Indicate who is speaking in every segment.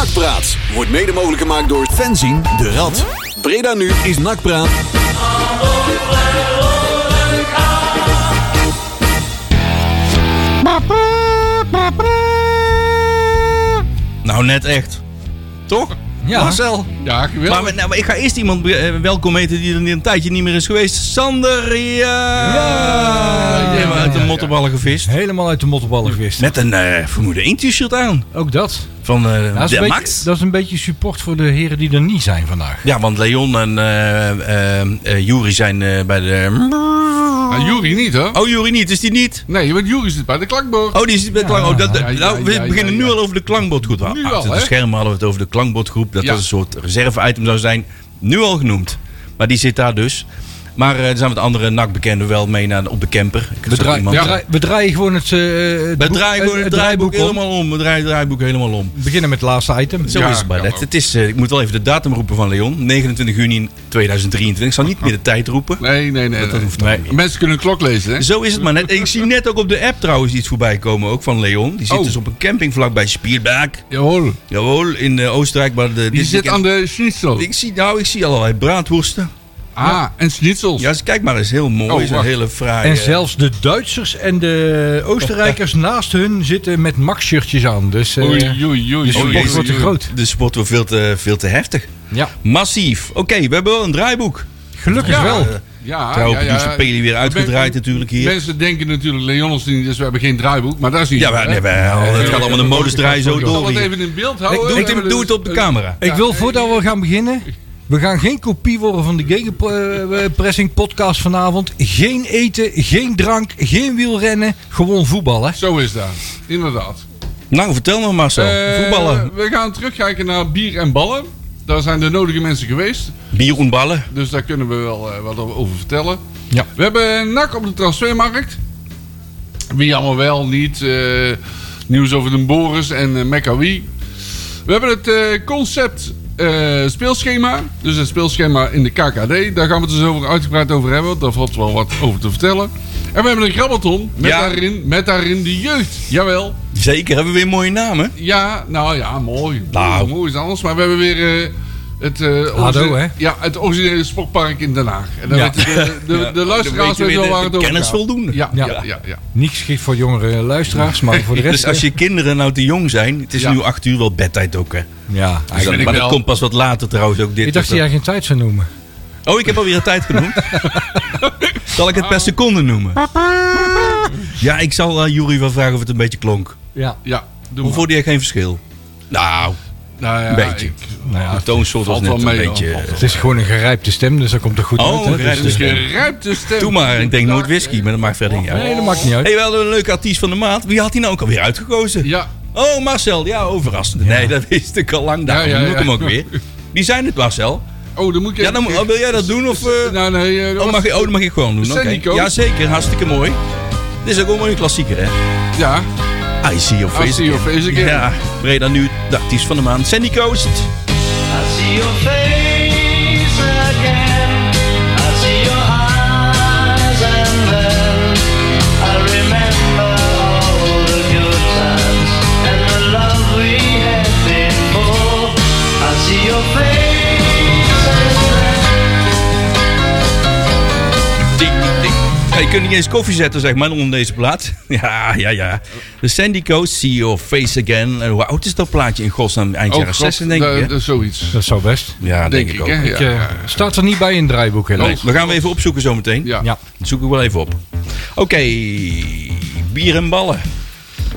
Speaker 1: Nakpraat wordt mede mogelijk gemaakt door Fenzin de Rad. Breda nu is Nakpraat.
Speaker 2: Nou, net echt. Toch?
Speaker 3: Ja.
Speaker 2: Marcel.
Speaker 3: Ja, geweldig.
Speaker 2: Maar, we- nou, maar ik ga eerst iemand be- eh, welkom heten die er een tijdje niet meer is geweest. Sander, ja!
Speaker 3: ja,
Speaker 2: Helemaal
Speaker 3: ja,
Speaker 2: uit de
Speaker 3: ja.
Speaker 2: mottenballen gevist.
Speaker 3: Helemaal uit de mottenballen gewist.
Speaker 2: Met een eh vermoeden 1 t-shirt aan.
Speaker 3: Ook dat.
Speaker 2: Van eh
Speaker 3: Dat is,
Speaker 2: de
Speaker 3: een
Speaker 2: Max.
Speaker 3: beetje, dat is een beetje support voor de heren die er niet zijn vandaag.
Speaker 2: Ja, want Leon en eh eh eh, Juri zijn eh, bij de...
Speaker 4: Ah, Jury niet hoor.
Speaker 2: Oh, Juri niet. Is die niet?
Speaker 4: Nee, want Jury zit bij de klankboord.
Speaker 2: Oh, die is bij klank. Oh, dat, dat-
Speaker 4: Ja, ja,
Speaker 2: nou, we
Speaker 4: ja, ja,
Speaker 2: beginnen nu
Speaker 4: ja.
Speaker 2: al over de klankbordgroep. Nou,
Speaker 4: Nu al,
Speaker 2: achter de
Speaker 4: hè?
Speaker 2: schermen hadden we het over de klankbordgroep. Dat
Speaker 4: Ja.
Speaker 2: dat een soort reserve-item zou zijn. Nu al genoemd. Maar die zit daar dus. Maar eh er zijn wat andere NAC-bekenden wel mee naar, op de camper. Ik zag
Speaker 3: We, draai-
Speaker 2: iemand-
Speaker 3: we draai- we draaien gewoon het, eh, het
Speaker 2: We
Speaker 3: boek-
Speaker 2: draaien gewoon
Speaker 3: eh,
Speaker 2: het draaiboek
Speaker 3: om.
Speaker 2: helemaal om. We draaien het draaiboek helemaal om.
Speaker 3: We beginnen met het laatste item.
Speaker 2: Zo
Speaker 4: Ja,
Speaker 2: is het bij
Speaker 4: kan
Speaker 2: dat.
Speaker 4: ook.
Speaker 2: Het is, eh, ik moet wel even de datum roepen van Leon. 29 juni 2023. Ik zal niet meer de tijd roepen.
Speaker 4: Nee, nee, nee.
Speaker 2: Dat
Speaker 4: nee.
Speaker 2: hoeft toch niet.
Speaker 4: Mensen kunnen een klok lezen, hè?
Speaker 2: Zo is het maar net. Ik zie net ook op de app trouwens iets voorbij komen. Ook van Leon. Die zit
Speaker 4: Oh.
Speaker 2: dus op een camping vlakbij Spierbaak.
Speaker 4: Jawohl.
Speaker 2: Jawel, in eh, Oostenrijk. Maar de,
Speaker 4: Die
Speaker 2: dit
Speaker 4: zit
Speaker 2: weekend-
Speaker 4: aan de schnitzel.
Speaker 2: Ik zie, nou, ik zie allerlei braadworsten.
Speaker 4: Ah, en schnitzels.
Speaker 2: Ja, dus kijk maar, dat is heel mooi.
Speaker 4: Oh,
Speaker 2: is een
Speaker 4: wacht.
Speaker 2: hele fraaie...
Speaker 3: En zelfs de Duitsers en de Oostenrijkers naast hun zitten met Max-shirtjes aan. Dus eh,
Speaker 4: Oei, oei, oei, oei.
Speaker 3: de support
Speaker 4: oei,
Speaker 3: wordt te
Speaker 4: oei.
Speaker 3: groot.
Speaker 2: Oh, De sport wordt veel te, veel te heftig.
Speaker 3: Ja,
Speaker 2: Massief. Oké, we hebben wel een draaiboek. Eh,
Speaker 3: gelukkig
Speaker 4: Ja.
Speaker 3: wel.
Speaker 4: Ja,
Speaker 2: Trouwe
Speaker 4: ja, ja.
Speaker 2: producer Peli weer uitgedraaid natuurlijk hier.
Speaker 4: Mensen denken natuurlijk, Leon is niet, dus we hebben geen draaiboek. Maar dat is niet
Speaker 2: Ja,
Speaker 4: zo,
Speaker 2: maar,
Speaker 4: hè?
Speaker 2: nee, wel, het gaat allemaal de modus draaien zo
Speaker 4: Ik zal
Speaker 2: door
Speaker 4: het
Speaker 2: hier.
Speaker 4: even in beeld houden.
Speaker 2: Ik
Speaker 4: We
Speaker 2: doe,
Speaker 4: hebben
Speaker 2: doe
Speaker 4: dus
Speaker 2: het op de
Speaker 4: een-
Speaker 2: camera.
Speaker 3: Ik wil voordat we gaan beginnen. We gaan geen kopie worden van de Gegenpressing podcast vanavond. Geen eten, geen drank, geen wielrennen. Gewoon voetballen.
Speaker 4: Zo is dat, inderdaad.
Speaker 2: Nou, vertel nog Marcel.
Speaker 4: Eh,
Speaker 2: Voetballen.
Speaker 4: We gaan terugkijken naar bier en ballen. Daar zijn de nodige mensen geweest.
Speaker 2: Bier en ballen.
Speaker 4: Dus daar kunnen we wel eh, wat over vertellen.
Speaker 3: Ja.
Speaker 4: We hebben NAC op de transfermarkt. Wie allemaal wel, niet. eh, nieuws over de Boris en eh Mekawi. We hebben het eh, concept eh, speelschema. Dus het speelschema in de KKD. Daar gaan we het dus over uitgebreid over hebben. want Daar valt wel wat over te vertellen. En we hebben een grabbelton met,
Speaker 2: Ja.
Speaker 4: daarin, met daarin de jeugd. Jawel.
Speaker 2: Zeker, hebben we weer mooie namen.
Speaker 4: Ja, nou ja, mooi.
Speaker 2: Nou.
Speaker 4: Mooi is anders. Maar we hebben weer eh, het, eh,
Speaker 3: ADO, hè?
Speaker 4: ja, het originele sportpark in Den Haag. En dan
Speaker 3: Ja.
Speaker 4: weten de, de, de luisteraars
Speaker 2: Dan weet je
Speaker 4: weten wel
Speaker 2: weer
Speaker 4: waar
Speaker 2: de-
Speaker 4: het
Speaker 2: de
Speaker 4: over
Speaker 2: kennis
Speaker 4: gaat.
Speaker 2: voldoende.
Speaker 4: Ja, ja, ja.
Speaker 2: Ja.
Speaker 4: ja,
Speaker 3: Niet geschikt voor jongere luisteraars, maar voor de rest.
Speaker 2: Dus als je kinderen nou te jong zijn, het is
Speaker 4: Ja.
Speaker 2: nu 8 uur wel bedtijd ook hè.
Speaker 3: ja,
Speaker 2: Dus dat-
Speaker 4: ik
Speaker 2: maar
Speaker 4: wel.
Speaker 2: dat komt pas wat later trouwens ook dit.
Speaker 3: ik dacht dat
Speaker 2: of
Speaker 3: jij geen tijd zou noemen.
Speaker 2: dat. Oh, ik heb alweer een tijd genoemd. zal ik het per seconde noemen? Ja, ik zal aan Jury wel vragen of het een beetje klonk.
Speaker 3: Ja,
Speaker 4: Ja, doe
Speaker 2: Hoe
Speaker 4: maar.
Speaker 2: voelde jij geen verschil? Nou,
Speaker 4: Nou ja,
Speaker 2: Een beetje.
Speaker 4: ik-
Speaker 3: nou ja.
Speaker 2: de toonsoort was
Speaker 4: valt
Speaker 2: net
Speaker 4: wel
Speaker 2: een
Speaker 4: mee,
Speaker 2: beetje... eh,
Speaker 4: hoor.
Speaker 3: Het is gewoon een gerijpte stem, dus dat komt er goed
Speaker 2: Oh,
Speaker 3: uit. hè. Dus,
Speaker 2: gerijpte
Speaker 4: dus
Speaker 3: eh,
Speaker 4: je ruikt de stem.
Speaker 2: Doe maar, ik denk nooit whisky, maar dat maakt verder niet uit.
Speaker 3: nee, dat maakt niet uit.
Speaker 2: Hey, we hadden een leuke artiest van de maand. Wie had hij nou ook alweer uitgekozen?
Speaker 4: Ja,
Speaker 2: Oh, Marcel. Ja, overrassend. Nee, dat wist ik al lang. Daarom
Speaker 4: Ja, ja,
Speaker 2: noem ik
Speaker 4: ja.
Speaker 2: hem ook weer. Wie zijn het, Marcel?
Speaker 4: oh, dan moet je...
Speaker 2: Ja, dan, moet- oh, wil jij dat doen? Of, eh,
Speaker 4: Nou, nee, eh, dat
Speaker 2: oh,
Speaker 4: was-
Speaker 2: mag, ik- oh, dat mag ik gewoon doen.
Speaker 4: Is dat
Speaker 2: Oké.
Speaker 4: Nico?
Speaker 2: Jazeker, hartstikke mooi. Dit is ook wel een klassieker, hè?
Speaker 4: ja.
Speaker 2: I see your face
Speaker 4: I see your face again.
Speaker 2: Ja, Breda nu, de artiest van de maand. Sandy Coast.
Speaker 5: I see your face again. I see your eyes, and then I remember all the good times and the love we had before. I see your face again.
Speaker 2: Tik, tik. Ja, je kunt niet eens koffie zetten, zeg maar, onder deze plaat. Ja, ja, ja. De Sandy Coast, See Your Face Again. En hoe oud is dat plaatje in godsnaam? Eind
Speaker 4: Oh,
Speaker 2: jaren
Speaker 4: God,
Speaker 2: 60, denk
Speaker 4: dat-
Speaker 2: ik, hè?
Speaker 4: dat is zoiets.
Speaker 3: Dat zou best.
Speaker 2: Ja, denk, ik ook.
Speaker 4: hè,
Speaker 3: Ik,
Speaker 4: ja.
Speaker 3: eh, staat er niet bij in het draaiboek
Speaker 2: Nee,
Speaker 3: helaas.
Speaker 2: we gaan hem even opzoeken zometeen.
Speaker 4: Ja.
Speaker 3: Ja.
Speaker 2: Dat zoek ik wel even op. Oké, bier en ballen.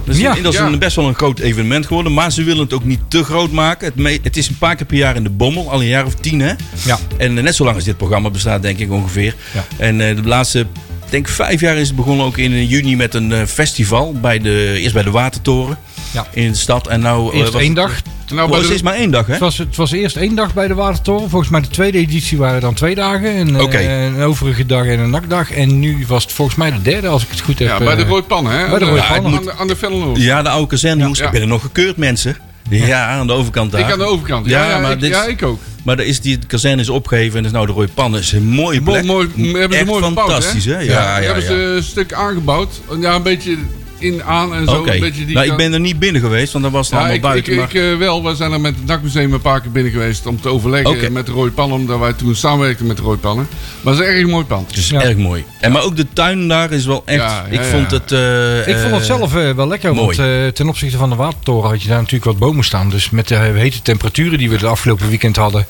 Speaker 2: Dat is,
Speaker 3: Ja.
Speaker 2: dat is
Speaker 4: Ja.
Speaker 2: een, best wel een groot evenement geworden. Maar ze willen het ook niet te groot maken. Het, me- het is een paar keer per jaar in de bommel. Al een jaar of tien, hè?
Speaker 3: Ja.
Speaker 2: En eh, net zo lang als dit programma bestaat, denk ik ongeveer.
Speaker 3: Ja.
Speaker 2: En eh, de laatste, ik denk vijf jaar is het begonnen ook in eh, juni met een eh, festival. Bij de, eerst bij de Watertoren
Speaker 3: Ja.
Speaker 2: in de stad. En nou, eh,
Speaker 3: Eerst
Speaker 2: was-
Speaker 3: één dag.
Speaker 4: Nou,
Speaker 2: Oh,
Speaker 4: bij
Speaker 2: het
Speaker 4: de-
Speaker 2: is maar één dag, hè?
Speaker 3: Het was, het was eerst één dag bij de Watertoren. Volgens mij de tweede editie waren dan twee dagen. En, eh,
Speaker 2: Oké.
Speaker 3: een overige dag en een nakdag. En nu was het volgens mij de derde, als ik het goed heb.
Speaker 4: ja, bij de
Speaker 3: eh,
Speaker 4: Rooi Pan, hè?
Speaker 3: bij de Rooi
Speaker 4: Aan
Speaker 3: Pan.
Speaker 4: aan de- Aan de Vellenhoek.
Speaker 2: Ja, de oude kazerne, jongens.
Speaker 4: Ja.
Speaker 2: Ik ben er nog gekeurd, mensen. Ja, aan de overkant daar.
Speaker 4: Ik aan de overkant. Ja, ja, ik,
Speaker 2: dit is-
Speaker 4: ja ik ook.
Speaker 2: Maar er is die de kazerne is opgegeven en is nou de rode pannen. is een mooie
Speaker 4: Mooi,
Speaker 2: plek.
Speaker 4: mooi, hebben ze
Speaker 2: Echt
Speaker 4: mooi gebouwd,
Speaker 2: fantastisch, hè? Ja, ja, ja.
Speaker 4: hebben ze een stuk aangebouwd. Ja, een beetje in aan en zo.
Speaker 2: Oké.
Speaker 4: Een beetje die
Speaker 2: Nou, ik
Speaker 4: kant.
Speaker 2: ben er niet binnen geweest, want dan was
Speaker 4: Ja,
Speaker 2: het allemaal
Speaker 4: ik, ik,
Speaker 2: buiten. maar-
Speaker 4: ik, eh, wel. We zijn er met het NAC-museum een paar keer binnen geweest om te overleggen
Speaker 2: Oké.
Speaker 4: met Roy Pannen. Omdat wij toen samenwerkten met Roy Pannen. Maar het is een erg mooi pand.
Speaker 2: Het is
Speaker 3: Ja.
Speaker 2: erg mooi. En maar ook de tuin daar is wel echt.
Speaker 4: Ja, ja,
Speaker 2: ik
Speaker 4: ja.
Speaker 2: vond het. eh,
Speaker 3: Ik vond het
Speaker 2: eh,
Speaker 3: zelf eh, wel lekker,
Speaker 2: mooi.
Speaker 3: want eh, ten opzichte van de watertoren had je daar natuurlijk wat bomen staan. Dus met de hete temperaturen die we de afgelopen weekend hadden,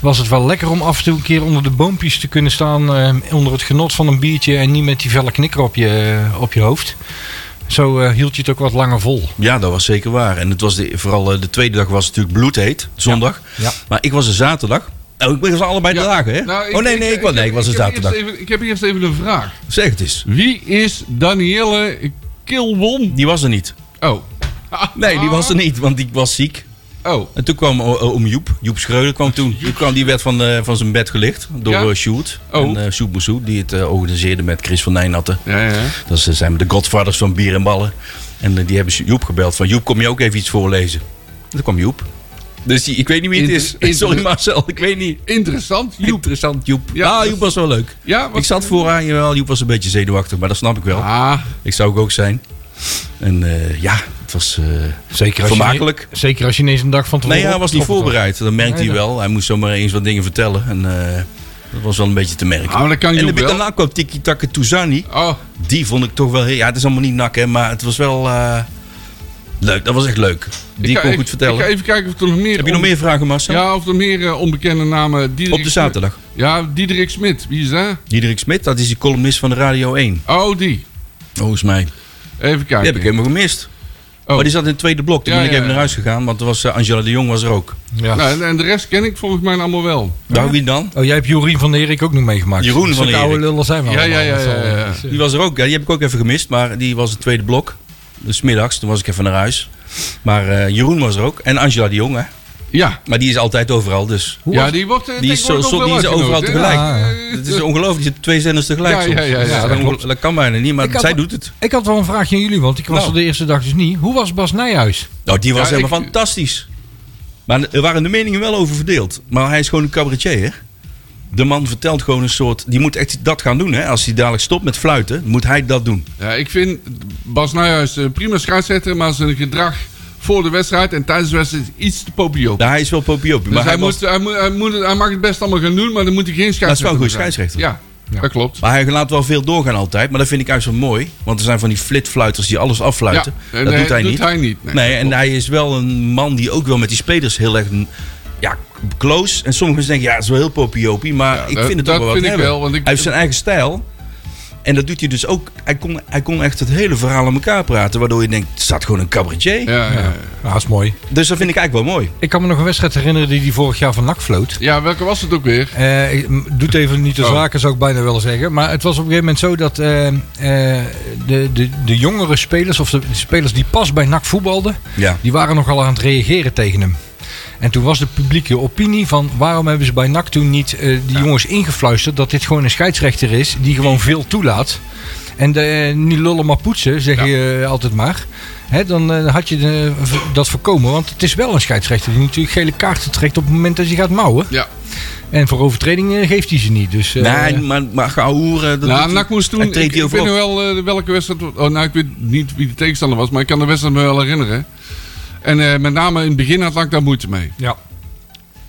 Speaker 3: was het wel lekker om af en toe een keer onder de boompjes te kunnen staan. eh, onder het genot van een biertje en niet met die felle knikker op je, eh, op je hoofd. Zo eh, hield je het ook wat langer vol.
Speaker 2: Ja, dat was zeker waar. En het was de, vooral eh, de tweede dag was het natuurlijk bloedheet, zondag.
Speaker 3: Ja.
Speaker 2: Maar ik was er zaterdag. Oh, ik was allebei de
Speaker 4: Ja.
Speaker 2: dagen, hè?
Speaker 4: Nou,
Speaker 2: oh nee, nee, ik, was, nee, ik was er
Speaker 4: heb eerst
Speaker 2: zaterdag.
Speaker 4: even- Ik heb eerst even een vraag.
Speaker 2: Zeg het eens.
Speaker 4: Wie is Danielle Kilwon?
Speaker 2: Die was er niet.
Speaker 4: Oh.
Speaker 2: Nee, die was er niet, want die was ziek.
Speaker 4: Oh.
Speaker 2: En toen kwam o- o- oom Joep, Joep Schreuder kwam toen. Die, kwam, die werd van, eh, van zijn bed gelicht door
Speaker 4: Ja?
Speaker 2: eh, Sjoerd.
Speaker 4: Oh.
Speaker 2: En eh Sjoerd Moussou, die het eh, organiseerde met Chris van Nijnatten.
Speaker 4: Ja, ja.
Speaker 2: Dat ze- zijn de godfathers van bier en ballen. En eh, die hebben ze Joep gebeld. Van Joep, kom je ook even iets voorlezen? En toen kwam Joep. Dus die- ik weet niet wie het is.
Speaker 4: Inter- inter-
Speaker 2: Sorry Marcel, ik weet niet.
Speaker 4: Interessant. Joep.
Speaker 2: Interessant, Joep.
Speaker 4: Ja,
Speaker 2: Ja,
Speaker 4: dat-
Speaker 2: Joep was wel leuk.
Speaker 4: Ja, wat-
Speaker 2: Ik zat vooraan, jawel, Joep was een beetje zenuwachtig. Maar dat snap ik wel.
Speaker 4: Ah,
Speaker 2: Ik zou ook ook zijn. En eh, ja, het was... eh,
Speaker 3: Zeker als,
Speaker 2: Vermakelijk.
Speaker 3: Je, zeker als je ineens een dag van tevoren...
Speaker 2: Nee, hij was niet
Speaker 3: opgetrokken
Speaker 2: voorbereid. Dat merkte
Speaker 3: Nee,
Speaker 2: hij
Speaker 3: dat-
Speaker 2: wel. Hij moest zomaar eens wat dingen vertellen. En eh, dat was wel een beetje te merken.
Speaker 4: Ah, maar dat kan
Speaker 2: en
Speaker 4: Joep
Speaker 2: dan-
Speaker 4: wel.
Speaker 2: daarna kwam Tiki Taka Touzani.
Speaker 4: oh.
Speaker 2: Die vond ik toch wel... heel- Ja, het is allemaal niet nak, hè. Maar het was wel... eh, leuk, dat was echt leuk. Die
Speaker 4: Ik
Speaker 2: kon
Speaker 4: ga
Speaker 2: ik
Speaker 4: even-
Speaker 2: goed vertellen.
Speaker 4: Ik ga even kijken of er nog meer...
Speaker 2: Heb je nog
Speaker 4: on-
Speaker 2: meer vragen, Marcel?
Speaker 4: Ja, of er meer eh, onbekende namen... Diederik
Speaker 2: Op de
Speaker 4: Smit-
Speaker 2: zaterdag.
Speaker 4: Ja, Diederik Smit. Wie is dat?
Speaker 2: Diederik Smit, dat is die columnist van de Radio 1.
Speaker 4: Oh, die.
Speaker 2: Volgens mij.
Speaker 4: Even
Speaker 2: Die
Speaker 4: kijken.
Speaker 2: heb ik helemaal gemist. Oh. Maar die zat in het tweede blok. Toen
Speaker 4: Ja,
Speaker 2: ben ik
Speaker 4: ja,
Speaker 2: even
Speaker 4: ja.
Speaker 2: naar huis gegaan. Want er was, eh, Angela de Jong was er ook.
Speaker 3: Ja.
Speaker 4: Nou, en- en de rest ken ik volgens mij allemaal wel.
Speaker 2: Nou, wie dan?
Speaker 3: Oh, jij hebt Jorien van der Erik ook nog meegemaakt.
Speaker 2: Jeroen
Speaker 3: Zulke
Speaker 2: van der
Speaker 3: oude
Speaker 2: Erik.
Speaker 3: lullen zijn we
Speaker 4: Ja,
Speaker 3: allemaal.
Speaker 4: ja, ja,
Speaker 3: Dat zal-
Speaker 4: ja, ja.
Speaker 2: Die was er ook. Ja, die heb ik ook even gemist. Maar die was het tweede blok. Dus middags. Toen was ik even naar huis. Maar eh, Jeroen was er ook. En Angela de Jong, hè.
Speaker 4: Ja.
Speaker 2: Maar die is altijd overal. Dus
Speaker 4: Ja, die wordt... eh,
Speaker 2: Die is zo-
Speaker 4: tegenwoordig
Speaker 2: zo-
Speaker 4: ook
Speaker 2: die is
Speaker 4: wel
Speaker 2: overal
Speaker 4: uitgenodigd,
Speaker 2: tegelijk.
Speaker 4: hè?
Speaker 3: Ah,
Speaker 2: het is ongelooflijk. Je hebt twee zenders tegelijk
Speaker 4: Ja,
Speaker 2: soms.
Speaker 4: ja, ja, ja, ja,
Speaker 2: dat,
Speaker 4: dat
Speaker 2: is onge- dat kan bijna niet. Maar
Speaker 3: Ik had-
Speaker 2: zij doet het.
Speaker 3: Ik had wel een vraagje aan jullie, want ik was
Speaker 2: Nou.
Speaker 3: er de eerste dag dus niet. Hoe was Bas Nijhuis?
Speaker 2: Nou, die was
Speaker 4: Ja,
Speaker 2: helemaal
Speaker 4: ik-
Speaker 2: fantastisch. Maar er waren de meningen wel over verdeeld. Maar hij is gewoon een cabaretier, hè? De man vertelt gewoon een soort... Die moet echt dat gaan doen, hè? Als hij dadelijk stopt met fluiten, moet hij dat doen.
Speaker 4: Ja, ik vind Bas Nijhuis een prima scheidsrechter, maar zijn gedrag voor de wedstrijd en tijdens de wedstrijd is iets te popiop.
Speaker 2: Nou, hij is wel popiopie,
Speaker 4: dus
Speaker 2: maar
Speaker 4: hij,
Speaker 2: hij, was,
Speaker 4: moet, hij, moet, hij, moet het- hij mag het best allemaal gaan doen, maar dan moet hij geen scheidsrechter
Speaker 2: wel een goede
Speaker 4: zijn.
Speaker 2: scheidsrechter.
Speaker 4: Ja, dat klopt.
Speaker 2: Maar hij laat wel veel doorgaan altijd. Maar dat vind ik juist wel mooi. Want er zijn van die flitfluiters die alles affluiten.
Speaker 4: Ja, en
Speaker 2: dat
Speaker 4: hij-
Speaker 2: doet hij
Speaker 4: doet
Speaker 2: niet.
Speaker 4: hij niet. Nee,
Speaker 2: Nee,
Speaker 4: dat
Speaker 2: en
Speaker 4: klopt.
Speaker 2: hij is wel een man die ook wel met die spelers heel erg mm, ja, close. En sommigen denken, ja, het is wel heel popiopie. Maar
Speaker 4: Ja,
Speaker 2: ik
Speaker 4: dat-
Speaker 2: vind het
Speaker 4: dat
Speaker 2: ook wel wat
Speaker 4: vind ik
Speaker 2: hebben.
Speaker 4: wel, want ik-
Speaker 2: Hij heeft zijn eigen stijl. En dat doet hij dus ook. Hij kon, hij kon echt het hele verhaal aan elkaar praten. Waardoor je denkt, het staat gewoon een cabaretier.
Speaker 4: Ja, ja.
Speaker 3: Ja, dat is mooi.
Speaker 2: Dus dat vind ik eigenlijk wel mooi.
Speaker 3: Ik kan me nog een wedstrijd herinneren die hij vorig jaar van NAC floot.
Speaker 4: ja, welke was het ook weer?
Speaker 3: Eh, ik- m- doet even niet de
Speaker 4: Oh.
Speaker 3: zaken, zou ik bijna willen zeggen. Maar het was op een gegeven moment zo dat eh, eh, de, de, de jongere spelers, of de, de spelers die pas bij NAC voetbalden,
Speaker 2: Ja.
Speaker 3: die waren nogal aan het reageren tegen hem. En toen was de publieke opinie van waarom hebben ze bij NAC toen niet eh, die jongens ingefluisterd dat dit gewoon een scheidsrechter is die gewoon veel toelaat. En de, eh, niet lullen maar poetsen, zeg je eh, altijd maar. Hè, dan eh, had je de- v- dat voorkomen. Want het is wel een scheidsrechter die natuurlijk gele kaarten trekt op het moment dat je gaat mouwen.
Speaker 4: Ja.
Speaker 3: En voor overtredingen geeft hij ze niet. Dus, eh,
Speaker 2: nee, maar, maar gehoeren. dat doet
Speaker 4: Nou,
Speaker 2: hij-
Speaker 4: NAC moest toen...
Speaker 2: Hij
Speaker 4: Ik,
Speaker 2: treedt
Speaker 4: ik
Speaker 2: die
Speaker 4: weet
Speaker 2: overal.
Speaker 4: nog wel eh, welke wedstrijd... Oh, nou, ik weet niet wie de tegenstander was, maar ik kan de wedstrijd me wel herinneren. En eh, met name in het begin had NAC daar moeite mee.
Speaker 3: ja.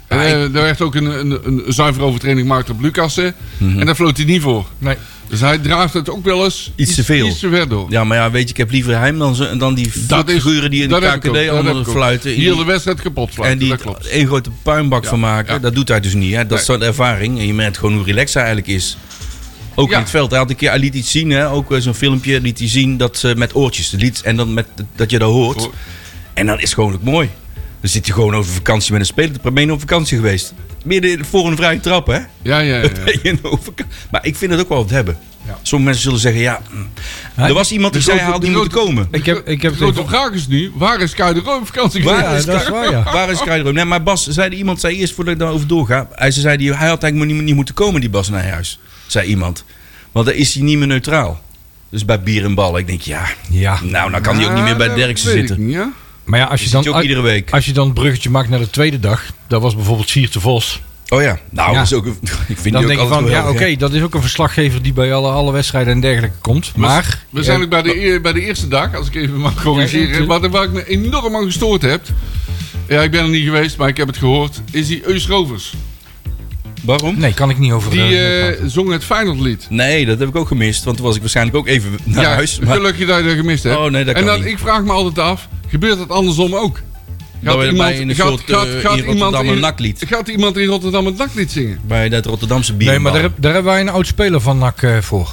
Speaker 4: En, eh, er werd ook een, een, een zuivere overtreding gemaakt op Lucassen.
Speaker 2: Mhm.
Speaker 4: En daar floot hij niet voor.
Speaker 3: Nee.
Speaker 4: Dus hij draagt het ook wel eens
Speaker 2: Iets te veel.
Speaker 4: Iets te ver door.
Speaker 2: Ja, maar ja, weet je, ik heb liever hem dan, ze- dan die
Speaker 4: is-
Speaker 2: figuren die in de
Speaker 4: dat heb ik ook,
Speaker 2: KKD
Speaker 4: dat heb
Speaker 2: allemaal
Speaker 4: ik ook.
Speaker 2: fluiten.
Speaker 4: Hier de wedstrijd kapot fluiten,
Speaker 2: en die
Speaker 4: dat klopt.
Speaker 2: één grote puinbak van maken,
Speaker 4: ja.
Speaker 2: dat doet hij dus niet. Hè? Dat is
Speaker 4: Nee.
Speaker 2: zo'n ervaring. En je merkt gewoon hoe relaxed hij eigenlijk is. Ook
Speaker 4: Ja.
Speaker 2: in het veld. Hij, had een keer, hij liet iets zien, hè? ook eh, zo'n filmpje liet hij zien dat ze met oortjes. Liet, en dan met, dat je dat hoort.
Speaker 4: Hoor.
Speaker 2: En dan is het gewoon ook mooi. Dan zit je gewoon over vakantie met een speler. Dan ben je op vakantie geweest. Midden voor een vrije trap, hè?
Speaker 4: Ja, ja, ja. ja.
Speaker 2: Ben je een overka- Maar ik vind het ook wel wat hebben.
Speaker 3: Ja.
Speaker 2: Sommige mensen zullen zeggen, ja... mm.
Speaker 3: Hij-
Speaker 2: Er was iemand die
Speaker 4: de
Speaker 2: zei, hij
Speaker 4: grote-
Speaker 2: had
Speaker 4: de
Speaker 2: niet moeten
Speaker 4: grote-
Speaker 2: komen.
Speaker 3: Ik heb, ik heb
Speaker 4: de
Speaker 3: het
Speaker 4: grote
Speaker 3: even-
Speaker 4: vraag is nu, waar is Kai de Roy op vakantie
Speaker 2: Waar
Speaker 3: Ja,
Speaker 4: geweest?
Speaker 3: dat is waar, ja.
Speaker 2: Waar is Kai de Roy? Nee, maar Bas, zei, iemand zei eerst voordat ik daarover doorga. Hij zei, die, hij had eigenlijk niet, niet moeten komen, die Bas Nijhuis. Zei iemand. Want dan is hij niet meer neutraal. Dus bij bier en ballen. Ik denk, ja,
Speaker 3: Ja.
Speaker 2: nou, dan kan hij ook niet meer bij
Speaker 4: Ja,
Speaker 2: Derksen
Speaker 4: dat weet ik
Speaker 2: zitten.
Speaker 4: niet, ja?
Speaker 3: Maar ja, als
Speaker 2: Die
Speaker 3: je
Speaker 2: zit
Speaker 3: dan
Speaker 2: je ook iedere week.
Speaker 3: Als je dan het bruggetje maakt naar de tweede dag, dat was bijvoorbeeld Siert de Vos.
Speaker 2: Oh ja, nou,
Speaker 3: Ja.
Speaker 2: dat is ook, een- ik vind
Speaker 3: Dan
Speaker 2: die
Speaker 3: denk
Speaker 2: ook
Speaker 3: je
Speaker 2: altijd
Speaker 3: van,
Speaker 2: wel
Speaker 3: ja,
Speaker 2: erg,
Speaker 3: oké,
Speaker 2: hè.
Speaker 3: dat is ook een verslaggever die bij alle, alle wedstrijden en dergelijke komt. Maar,
Speaker 4: We zijn ook bij de, eer- bij de eerste dag, als ik even mag corrigeren.
Speaker 3: natuurlijk.
Speaker 4: Waar, waar ik me enorm aan gestoord heb. Ja, ik ben er niet geweest, maar ik heb het gehoord. Is die Eus Rovers.
Speaker 2: Waarom?
Speaker 3: nee, kan ik niet over.
Speaker 4: Die
Speaker 3: eh,
Speaker 4: eh, zong het Feyenoordlied.
Speaker 2: Nee, dat heb ik ook gemist, want toen was ik waarschijnlijk ook even naar
Speaker 4: ja,
Speaker 2: huis. Maar
Speaker 4: gelukkig dat je dat gemist hebt.
Speaker 2: Oh, nee, dat
Speaker 4: en
Speaker 2: kan
Speaker 4: dat,
Speaker 2: niet.
Speaker 4: ik vraag me altijd af, gebeurt dat andersom ook?
Speaker 2: Dat we bij in een soort, eh, in Rotterdam een naklied.
Speaker 4: Gaat iemand in Rotterdam een naklied zingen?
Speaker 2: bij dat Rotterdamse bier.
Speaker 3: nee, maar daar, heb- daar hebben wij een oud speler van NAC eh, voor.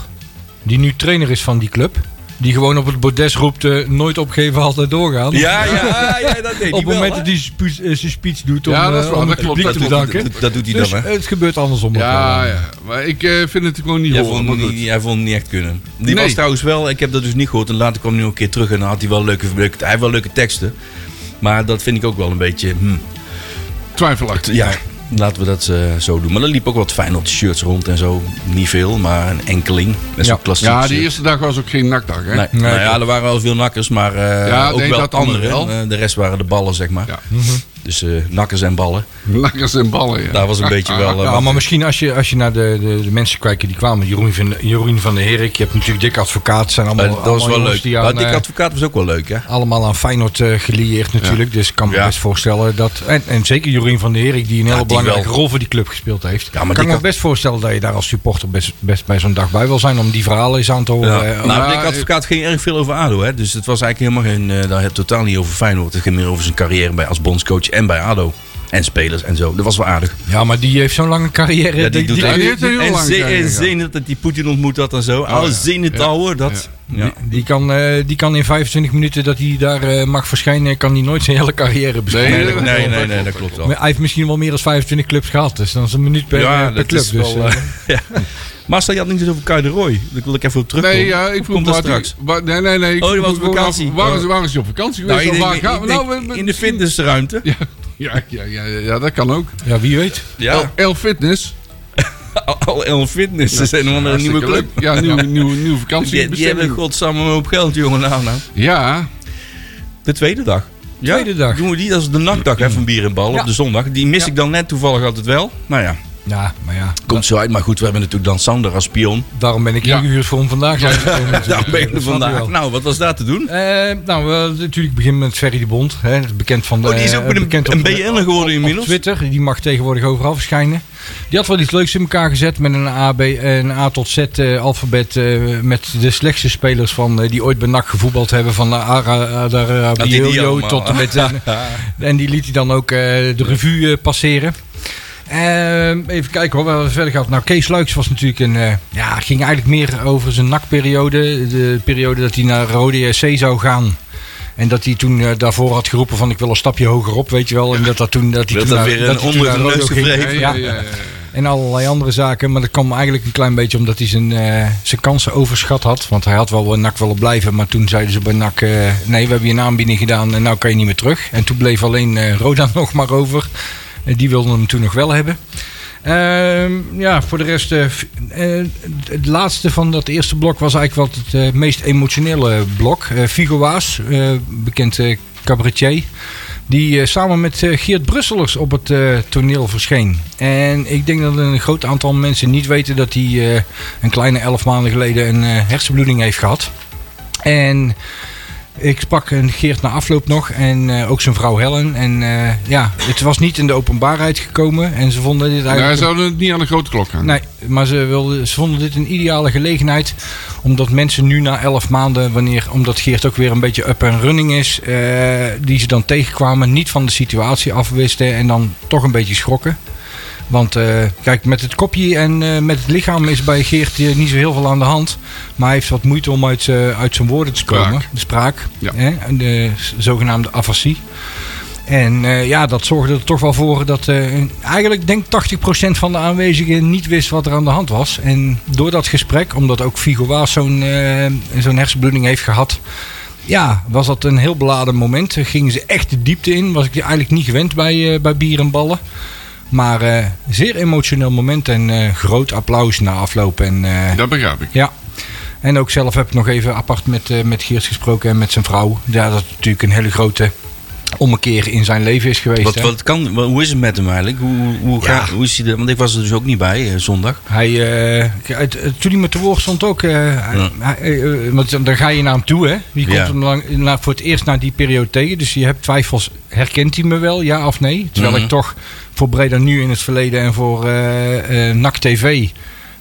Speaker 3: Die nu trainer is van die club. Die gewoon op het bordes roept, eh, nooit opgeven, altijd doorgaan.
Speaker 2: Ja, ja, ja, dat deed
Speaker 3: op
Speaker 2: hij
Speaker 3: het
Speaker 2: wel,
Speaker 3: moment
Speaker 2: hè?
Speaker 3: dat hij zijn spe- eh, zijn speech doet om,
Speaker 4: Ja, dat is
Speaker 3: eh,
Speaker 4: waar,
Speaker 3: om
Speaker 4: dat
Speaker 3: het
Speaker 4: klopt,
Speaker 3: publiek
Speaker 4: dat
Speaker 3: te
Speaker 4: doet-
Speaker 3: danken.
Speaker 2: dat, dat doet hij
Speaker 3: Dus
Speaker 2: dan, hè?
Speaker 3: het gebeurt andersom. ook wel.
Speaker 4: Ja, ja. Maar ik eh, vind het gewoon niet
Speaker 2: Jij
Speaker 4: horen.
Speaker 2: vond, hem
Speaker 4: maar goed.
Speaker 2: niet, hij vond hem niet echt kunnen. Die
Speaker 4: Nee.
Speaker 2: was trouwens wel, ik heb dat dus niet gehoord. En later kwam hij nog een keer terug en dan had hij wel leuke, leuke, hij had wel leuke teksten. Maar dat vind ik ook wel een beetje, hmm,
Speaker 4: Twijfelachtig.
Speaker 2: ja, laten we dat eh, zo doen. Maar er liep ook wat Feyenoord shirts rond en zo. Niet veel, maar een enkeling. Best wel
Speaker 3: Ja.
Speaker 2: klassiek.
Speaker 4: Ja, die
Speaker 2: shirt.
Speaker 4: eerste dag was ook geen nakdag, hè?
Speaker 2: Nee,
Speaker 3: Nee,
Speaker 2: nou
Speaker 3: klopt.
Speaker 2: ja, er waren wel veel nakkers, maar eh,
Speaker 4: Ja,
Speaker 2: ook
Speaker 4: nee,
Speaker 2: wel
Speaker 4: dat
Speaker 2: anderen.
Speaker 4: allemaal wel.
Speaker 2: Eh, de rest waren de ballen, zeg maar.
Speaker 4: Ja.
Speaker 2: Dus eh, nakkers en ballen.
Speaker 4: Nakkers en ballen, ja.
Speaker 2: Daar was een beetje wel... eh,
Speaker 3: Ja,
Speaker 2: wat-
Speaker 3: maar misschien als je, als je naar de, de, de mensen kijkt die kwamen. Jeroen van, Jeroen van der Herik, je hebt natuurlijk Dick Advocaat. zijn allemaal,
Speaker 2: eh, dat was
Speaker 3: allemaal
Speaker 2: wel
Speaker 3: jongens
Speaker 2: leuk.
Speaker 3: Die aan,
Speaker 2: Maar Dick
Speaker 3: eh,
Speaker 2: Advocaat was ook wel leuk, hè?
Speaker 3: allemaal aan Feyenoord eh, gelieerd natuurlijk. Dus ik kan me
Speaker 2: Ja.
Speaker 3: best voorstellen dat... En, en zeker Jorien van der Herik, die een hele
Speaker 2: die
Speaker 3: belangrijke
Speaker 2: wel.
Speaker 3: rol voor die club gespeeld heeft.
Speaker 2: maar
Speaker 3: kan
Speaker 2: die
Speaker 3: ik me
Speaker 2: kan-
Speaker 3: best voorstellen dat je daar als supporter best, best bij zo'n dag bij wil zijn... om die verhalen eens aan te horen. eh,
Speaker 2: nou,
Speaker 4: ja,
Speaker 2: Dick Advocaat ging erg veel over ADO, hè? Dus het was eigenlijk helemaal geen... eh, daar heb totaal niet over Feyenoord. Het ging meer over zijn carrière bij, als bondscoach en bij ADO. En spelers en zo. Dat was wel aardig.
Speaker 3: ja, maar die heeft zo'n lange carrière.
Speaker 2: Ja, die doet
Speaker 4: die-
Speaker 2: echt-
Speaker 4: die heeft een heel
Speaker 2: en
Speaker 4: lange
Speaker 2: ze-
Speaker 4: carrière
Speaker 2: en
Speaker 4: gehad.
Speaker 2: zin het dat die Poetin ontmoet dat en zo.
Speaker 4: ja.
Speaker 2: Al zin het
Speaker 4: Ja.
Speaker 2: al hoor, dat. Ja.
Speaker 3: die, die kan, eh, die kan in 25 minuten dat hij daar eh, mag verschijnen... kan hij nooit zijn hele carrière bespreken.
Speaker 4: Nee,
Speaker 2: Nee, dat- nee, nee, nee, dat klopt wel.
Speaker 3: Maar Hij heeft misschien wel meer dan 25 clubs gehad. Dus dan is een minuut per, eh, per club. dus,
Speaker 2: wel,
Speaker 3: eh,
Speaker 2: eh, ja. Marcel, je had niks over Kuy de Roy. Daar wil ik even op terugkomen.
Speaker 4: Nee, ja, ik
Speaker 2: Hoe
Speaker 4: vroeg
Speaker 2: komt dat
Speaker 4: waar die-
Speaker 2: straks.
Speaker 4: waar- nee, nee, nee. ik
Speaker 2: Oh, die
Speaker 4: vroeg
Speaker 2: was
Speaker 4: me
Speaker 2: op
Speaker 4: gewoon af,
Speaker 2: vakantie.
Speaker 4: Waar is,
Speaker 2: Oh.
Speaker 4: waar is hij op vakantie
Speaker 2: Nou,
Speaker 4: geweest?
Speaker 2: ik
Speaker 4: of
Speaker 2: denk-
Speaker 4: waar gaan
Speaker 2: ik
Speaker 4: we?
Speaker 2: denk
Speaker 4: Nou, we- we-
Speaker 2: in de fitnessruimte.
Speaker 4: Ja, ja, ja, ja, ja, dat kan ook.
Speaker 3: ja, wie weet.
Speaker 2: Ja,
Speaker 4: L, L Fitness.
Speaker 2: al- al El Fitness. Dat is een of andere
Speaker 4: Hartstikke
Speaker 2: nieuwe club.
Speaker 4: leuk. Ja, nieuwe, nieuwe, nieuwe
Speaker 2: Die, die hebben
Speaker 4: vakantiebestemming.
Speaker 2: godsamme een hoop geld, jongen. Nou, nou.
Speaker 4: Ja,
Speaker 2: De tweede dag. Ja,
Speaker 3: Tweede dag.
Speaker 2: Doen we die, dat is de nachtdag hè, van bier en bal
Speaker 3: Ja.
Speaker 2: op de zondag. Die mis
Speaker 3: Ja.
Speaker 2: ik dan net toevallig altijd wel. Nou ja,
Speaker 3: Ja, maar ja.
Speaker 2: komt zo uit. Maar goed, we hebben natuurlijk dan Sander als pion.
Speaker 3: Daarom ben ik
Speaker 4: Ja.
Speaker 3: ingehuurd voor om vandaag dus, eh. langs te komen.
Speaker 2: Daar ben je
Speaker 3: Dat
Speaker 2: er
Speaker 3: snap je
Speaker 2: vandaag.
Speaker 3: wel.
Speaker 2: Nou, wat was daar te doen?
Speaker 3: Eh, nou, we natuurlijk beginnen met Ferry de Bond. Hè, bekend van de,
Speaker 2: Oh, die is ook
Speaker 3: eh,
Speaker 2: met een,
Speaker 3: bekend
Speaker 2: een
Speaker 3: op de-
Speaker 2: BN'er geworden
Speaker 3: op
Speaker 2: inmiddels.
Speaker 3: Twitter. Die mag tegenwoordig overal verschijnen. Die had wel iets leuks in elkaar gezet met een A, B, eh, een A tot Z eh, alfabet. eh, met de slechtste spelers van, eh, die ooit bij NAC gevoetbald hebben. Van eh, Ara, Adara-
Speaker 2: die die
Speaker 3: Abioyo
Speaker 2: allemaal.
Speaker 3: tot en met... eh, en die liet hij dan ook eh, de revue eh, passeren. Ehm, even kijken hoor, waar we verder gaat. Nou, Kees Luiks was natuurlijk een. eh, ja, het ging eigenlijk meer over zijn NAC-periode. De periode dat hij naar Rode SC zou gaan. En dat hij toen eh, daarvoor had geroepen van ik wil een stapje hoger op, weet je wel. En dat, dat toen dat hij
Speaker 2: Dat
Speaker 3: toen
Speaker 2: dat
Speaker 3: naar-
Speaker 2: weer een
Speaker 3: hij toen
Speaker 2: onder de
Speaker 3: naar
Speaker 2: neus
Speaker 3: Rodo ging.
Speaker 4: ja,
Speaker 2: gevreven.
Speaker 4: ja, ja,
Speaker 3: Ja.
Speaker 4: ja.
Speaker 3: En allerlei andere zaken. Maar dat kwam eigenlijk een klein beetje omdat hij zijn, eh, zijn kansen overschat had. Want hij had wel bij NAC willen blijven. Maar toen zeiden ze bij NAC... eh, nee, we hebben je een aanbieding gedaan en nou kan je niet meer terug. En toen bleef alleen eh Roda nog maar over. En die wilden hem toen nog wel hebben. Ehm, ja, voor de rest... eh, f- eh, het laatste van dat eerste blok was eigenlijk wat het eh, meest emotionele blok. Eh Figo Waas, eh, bekend eh, cabaretier... Die eh, samen met eh, Geert Brusselers op het eh, toneel verscheen. En ik denk dat een groot aantal mensen niet weten dat hij eh, een kleine elf maanden geleden een eh, hersenbloeding heeft gehad. En ik sprak een Geert na afloop nog en eh, ook zijn vrouw Helen. En eh, ja, het was niet in de openbaarheid gekomen. En ze vonden dit
Speaker 4: Nou,
Speaker 3: eigenlijk.
Speaker 4: hij zou het niet aan de grote klok gaan.
Speaker 3: Nee, maar ze, wilden, ze vonden dit een ideale gelegenheid. Omdat mensen nu na 11 maanden, wanneer, omdat Geert ook weer een beetje up and running is, eh, die ze dan tegenkwamen, niet van de situatie afwisten en dan toch een beetje schrokken. Want eh, kijk, met het kopje en eh, met het lichaam is bij Geert eh, niet zo heel veel aan de hand. Maar hij heeft wat moeite om uit, z'n- uit zijn woorden te
Speaker 4: Spraak.
Speaker 3: komen. De spraak.
Speaker 4: Ja.
Speaker 3: Hè? De z- zogenaamde afasie. En eh, ja, dat zorgde er toch wel voor dat eh, eigenlijk denk 80% van de aanwezigen niet wist wat er aan de hand was. En door dat gesprek, omdat ook Figo Waas zo'n eh, zo'n hersenbloeding heeft gehad, ja, was dat een heel beladen moment. Eh, Gingen ze echt de diepte in, was ik eigenlijk niet gewend bij, eh, bij bier en ballen. Maar eh, zeer emotioneel moment en eh, groot applaus na afloop. En, eh,
Speaker 4: Dat begrijp ik.
Speaker 3: ja. En ook zelf heb ik nog even apart met, eh, met Geert gesproken en met zijn vrouw. Ja, dat is natuurlijk een hele grote om een keer in zijn leven is geweest.
Speaker 2: Wat,
Speaker 3: hè.
Speaker 2: wat kan, wat- hoe is het met hem eigenlijk? Hoe, hoe, hoe,
Speaker 3: Ja.
Speaker 2: gaat- hoe is hij er? Want ik was er dus ook niet bij eh, zondag.
Speaker 3: Hij, eh, het- het- toen hij met de woord stond ook, eh, hij-
Speaker 2: Ja.
Speaker 3: hij- eh, eh, want dan ga je naar hem toe, hè? Je komt
Speaker 2: Ja.
Speaker 3: hem lang, na- voor het eerst na die periode tegen, dus je hebt twijfels, herkent hij me wel, ja of nee? Terwijl
Speaker 2: Mhm.
Speaker 3: ik toch voor Breda Nu in het verleden en voor eh eh NAC TV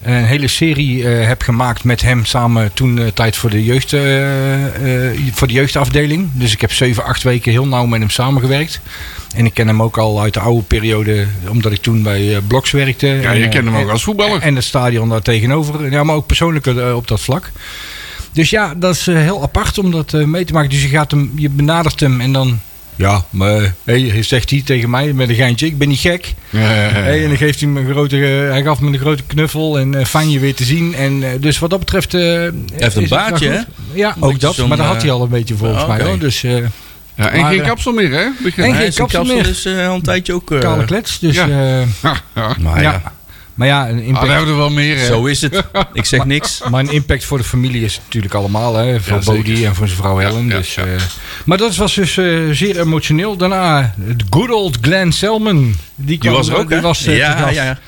Speaker 3: een hele serie eh, heb gemaakt met hem samen toen eh, tijd voor de, jeugd, eh, eh, voor de jeugdafdeling. Dus ik heb zeven, acht weken heel nauw met hem samengewerkt. En ik ken hem ook al uit de oude periode, omdat ik toen bij eh, Bloks werkte.
Speaker 4: Ja,
Speaker 3: En,
Speaker 4: je
Speaker 3: eh,
Speaker 4: kent hem ook
Speaker 3: en-
Speaker 4: als voetballer.
Speaker 3: en het stadion daar tegenover. Ja, maar ook persoonlijk eh, op dat vlak. Dus ja, dat is eh, heel apart om dat eh, mee te maken. Dus je, gaat hem, je benadert hem en dan... Ja, maar eh, hey, zegt hij tegen mij met een geintje. Ik ben niet gek.
Speaker 2: Eh.
Speaker 3: Hey, en dan geeft hij, me een grote, eh, hij gaf me een grote knuffel. En eh, fijn je weer te zien. En, eh, dus wat dat betreft... eh heeft
Speaker 2: een baardje, hè?
Speaker 3: Ja, ook
Speaker 2: Beetje
Speaker 3: dat.
Speaker 2: zo'n,
Speaker 3: Maar dat
Speaker 2: eh,
Speaker 3: had hij al een beetje volgens
Speaker 2: ah,
Speaker 3: mij.
Speaker 2: oké.
Speaker 3: Hoor. Dus eh,
Speaker 4: Ja, en
Speaker 3: Maar,
Speaker 4: geen
Speaker 3: eh,
Speaker 4: kapsel meer, hè? Begin-
Speaker 3: en
Speaker 2: Hij
Speaker 3: geen
Speaker 2: is een
Speaker 3: kapsel meer.
Speaker 2: is eh, al een tijdje ook... eh,
Speaker 3: kale klets. Dus,
Speaker 4: ja.
Speaker 3: eh,
Speaker 4: Ha, ja.
Speaker 2: maar
Speaker 3: ja.
Speaker 2: ja,
Speaker 3: Maar ja, een
Speaker 4: Ah,
Speaker 3: impact.
Speaker 4: we hebben er wel meer, hè?
Speaker 2: zo is het. Ik zeg niks.
Speaker 3: Maar een impact voor de familie is het natuurlijk allemaal. Hè? Voor
Speaker 4: Ja, zeker.
Speaker 3: Bodie en voor zijn vrouw Helen.
Speaker 4: ja,
Speaker 3: dus,
Speaker 4: ja.
Speaker 3: eh, maar dat was dus eh, zeer emotioneel. Daarna het good old Glenn Selman. Die,
Speaker 2: Die
Speaker 3: kwam
Speaker 2: was er ook,
Speaker 3: die
Speaker 2: hè?
Speaker 3: was, eh, te
Speaker 2: ja,
Speaker 3: gast.
Speaker 2: ja, ja.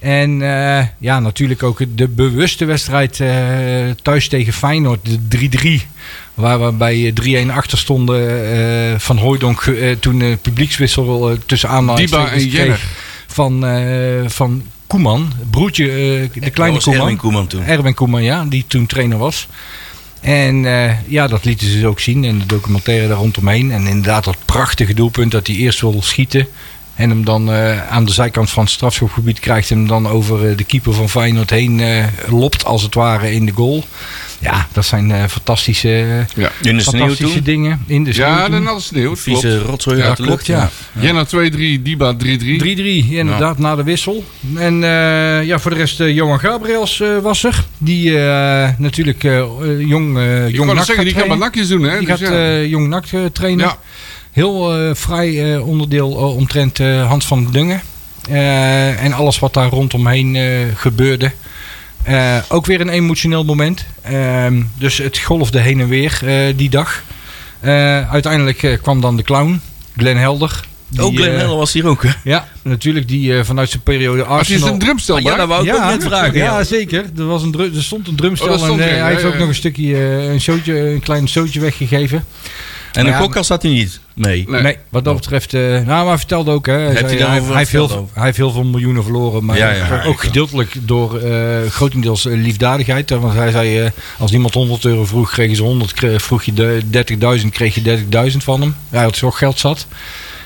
Speaker 3: En eh, ja, natuurlijk ook de bewuste wedstrijd eh, thuis tegen Feyenoord. De 3-3. Waar we bij eh, 3-1 achter stonden. eh, van Hooydonk eh, toen de publiekswissel eh, tussen aanhalingstekens
Speaker 4: Diba en Jenner.
Speaker 3: Van, eh, van Koeman. Broertje, eh, de kleine
Speaker 2: Dat was Erwin
Speaker 3: Koeman. Eh,
Speaker 2: Koeman toen.
Speaker 3: Erwin Koeman, ja, die toen trainer was. En eh, ja, dat lieten ze dus ook zien in de documentaire daar rondomheen. En inderdaad dat prachtige doelpunt dat hij eerst wil schieten. En hem dan eh, aan de zijkant van het strafschopgebied krijgt. En hem dan over eh, de keeper van Feyenoord heen eh lopt als het ware in de goal. Ja, dat zijn eh, fantastische,
Speaker 4: Ja,
Speaker 2: In de sneeuw
Speaker 3: fantastische
Speaker 2: toen.
Speaker 3: dingen. In de sneeuw
Speaker 4: ja
Speaker 3: toen.
Speaker 4: de natte sneeuw, klopt.
Speaker 2: Vieze rotzooi
Speaker 4: Ja,
Speaker 2: uit de lucht.
Speaker 3: klopt, ja.
Speaker 4: Jenna 2-3, Diba 3-3.
Speaker 3: 3-3, inderdaad, na de wissel. En eh, ja, voor de rest, eh, Johan Gabriels eh, was er. Die eh, natuurlijk eh, eh, jong, eh
Speaker 4: Ik
Speaker 3: jong
Speaker 4: kan
Speaker 3: NAC
Speaker 4: zeggen, die
Speaker 3: gaat
Speaker 4: kan maar
Speaker 3: trainen.
Speaker 4: nakjes doen, hè?
Speaker 3: Die
Speaker 4: Dus
Speaker 3: gaat
Speaker 4: ja.
Speaker 3: eh, jong NAC eh, trainen.
Speaker 4: Ja.
Speaker 3: Heel eh, vrij eh, onderdeel eh, omtrent eh, Hans van Dungen. Eh, en alles wat daar rondomheen eh, gebeurde. Eh, ook weer een emotioneel moment. Ehm, dus het golfde heen en weer eh, die dag. Eh, uiteindelijk eh, kwam dan de clown, Glenn Helder. Die,
Speaker 2: Ook Oh, Glenn
Speaker 3: eh,
Speaker 2: Miller was hier ook, hè?
Speaker 3: ja, natuurlijk die eh, vanuit zijn periode
Speaker 4: Als je
Speaker 3: Arsenal...
Speaker 4: een drumstel
Speaker 2: Ja, dat
Speaker 4: maakt.
Speaker 2: wou ik ook net vragen.
Speaker 3: Ja,
Speaker 2: ja.
Speaker 3: zeker. Er, was een dru- er stond een drumstel
Speaker 4: Oh, dat stond
Speaker 3: en eh,
Speaker 4: erin,
Speaker 3: hij
Speaker 4: ja, ja,
Speaker 3: heeft ook
Speaker 4: ja.
Speaker 3: nog een stukje, eh, een, showtje, een klein showtje weggegeven.
Speaker 2: En
Speaker 3: Ja,
Speaker 2: een kokkast had hij niet mee.
Speaker 4: Nee.
Speaker 3: Nee, wat dat betreft. eh, nou, maar hij vertelde ook. Hè, hij,
Speaker 2: hij
Speaker 3: zei,
Speaker 2: daarover
Speaker 3: hij,
Speaker 2: wat
Speaker 3: hij heeft heel,
Speaker 2: verteld
Speaker 3: veel- hij heeft heel veel miljoenen verloren. Maar
Speaker 2: Ja, ja,
Speaker 3: ook
Speaker 2: ja.
Speaker 3: gedeeltelijk door eh, grotendeels eh, liefdadigheid. hè, Want hij zei: eh, als iemand 100 euro vroeg, kregen ze 100. kre- Vroeg je de 30.000, kreeg je 30.000 van hem. Hij had zo geld zat.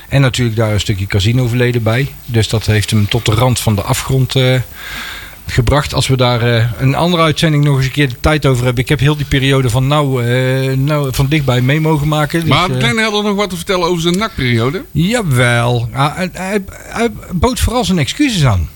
Speaker 3: En natuurlijk daar een stukje casino verleden bij. Dus dat heeft hem tot de rand van de afgrond eh, gebracht. Als we daar eh, een andere uitzending nog eens een keer de tijd over hebben. Ik heb heel die periode van nou, eh, nou van dichtbij mee mogen maken. Dus,
Speaker 4: Maar
Speaker 3: eh,
Speaker 4: Glenn had er nog wat te vertellen over zijn nakperiode.
Speaker 3: Jawel. Ja, hij, hij, hij bood vooral zijn excuses aan.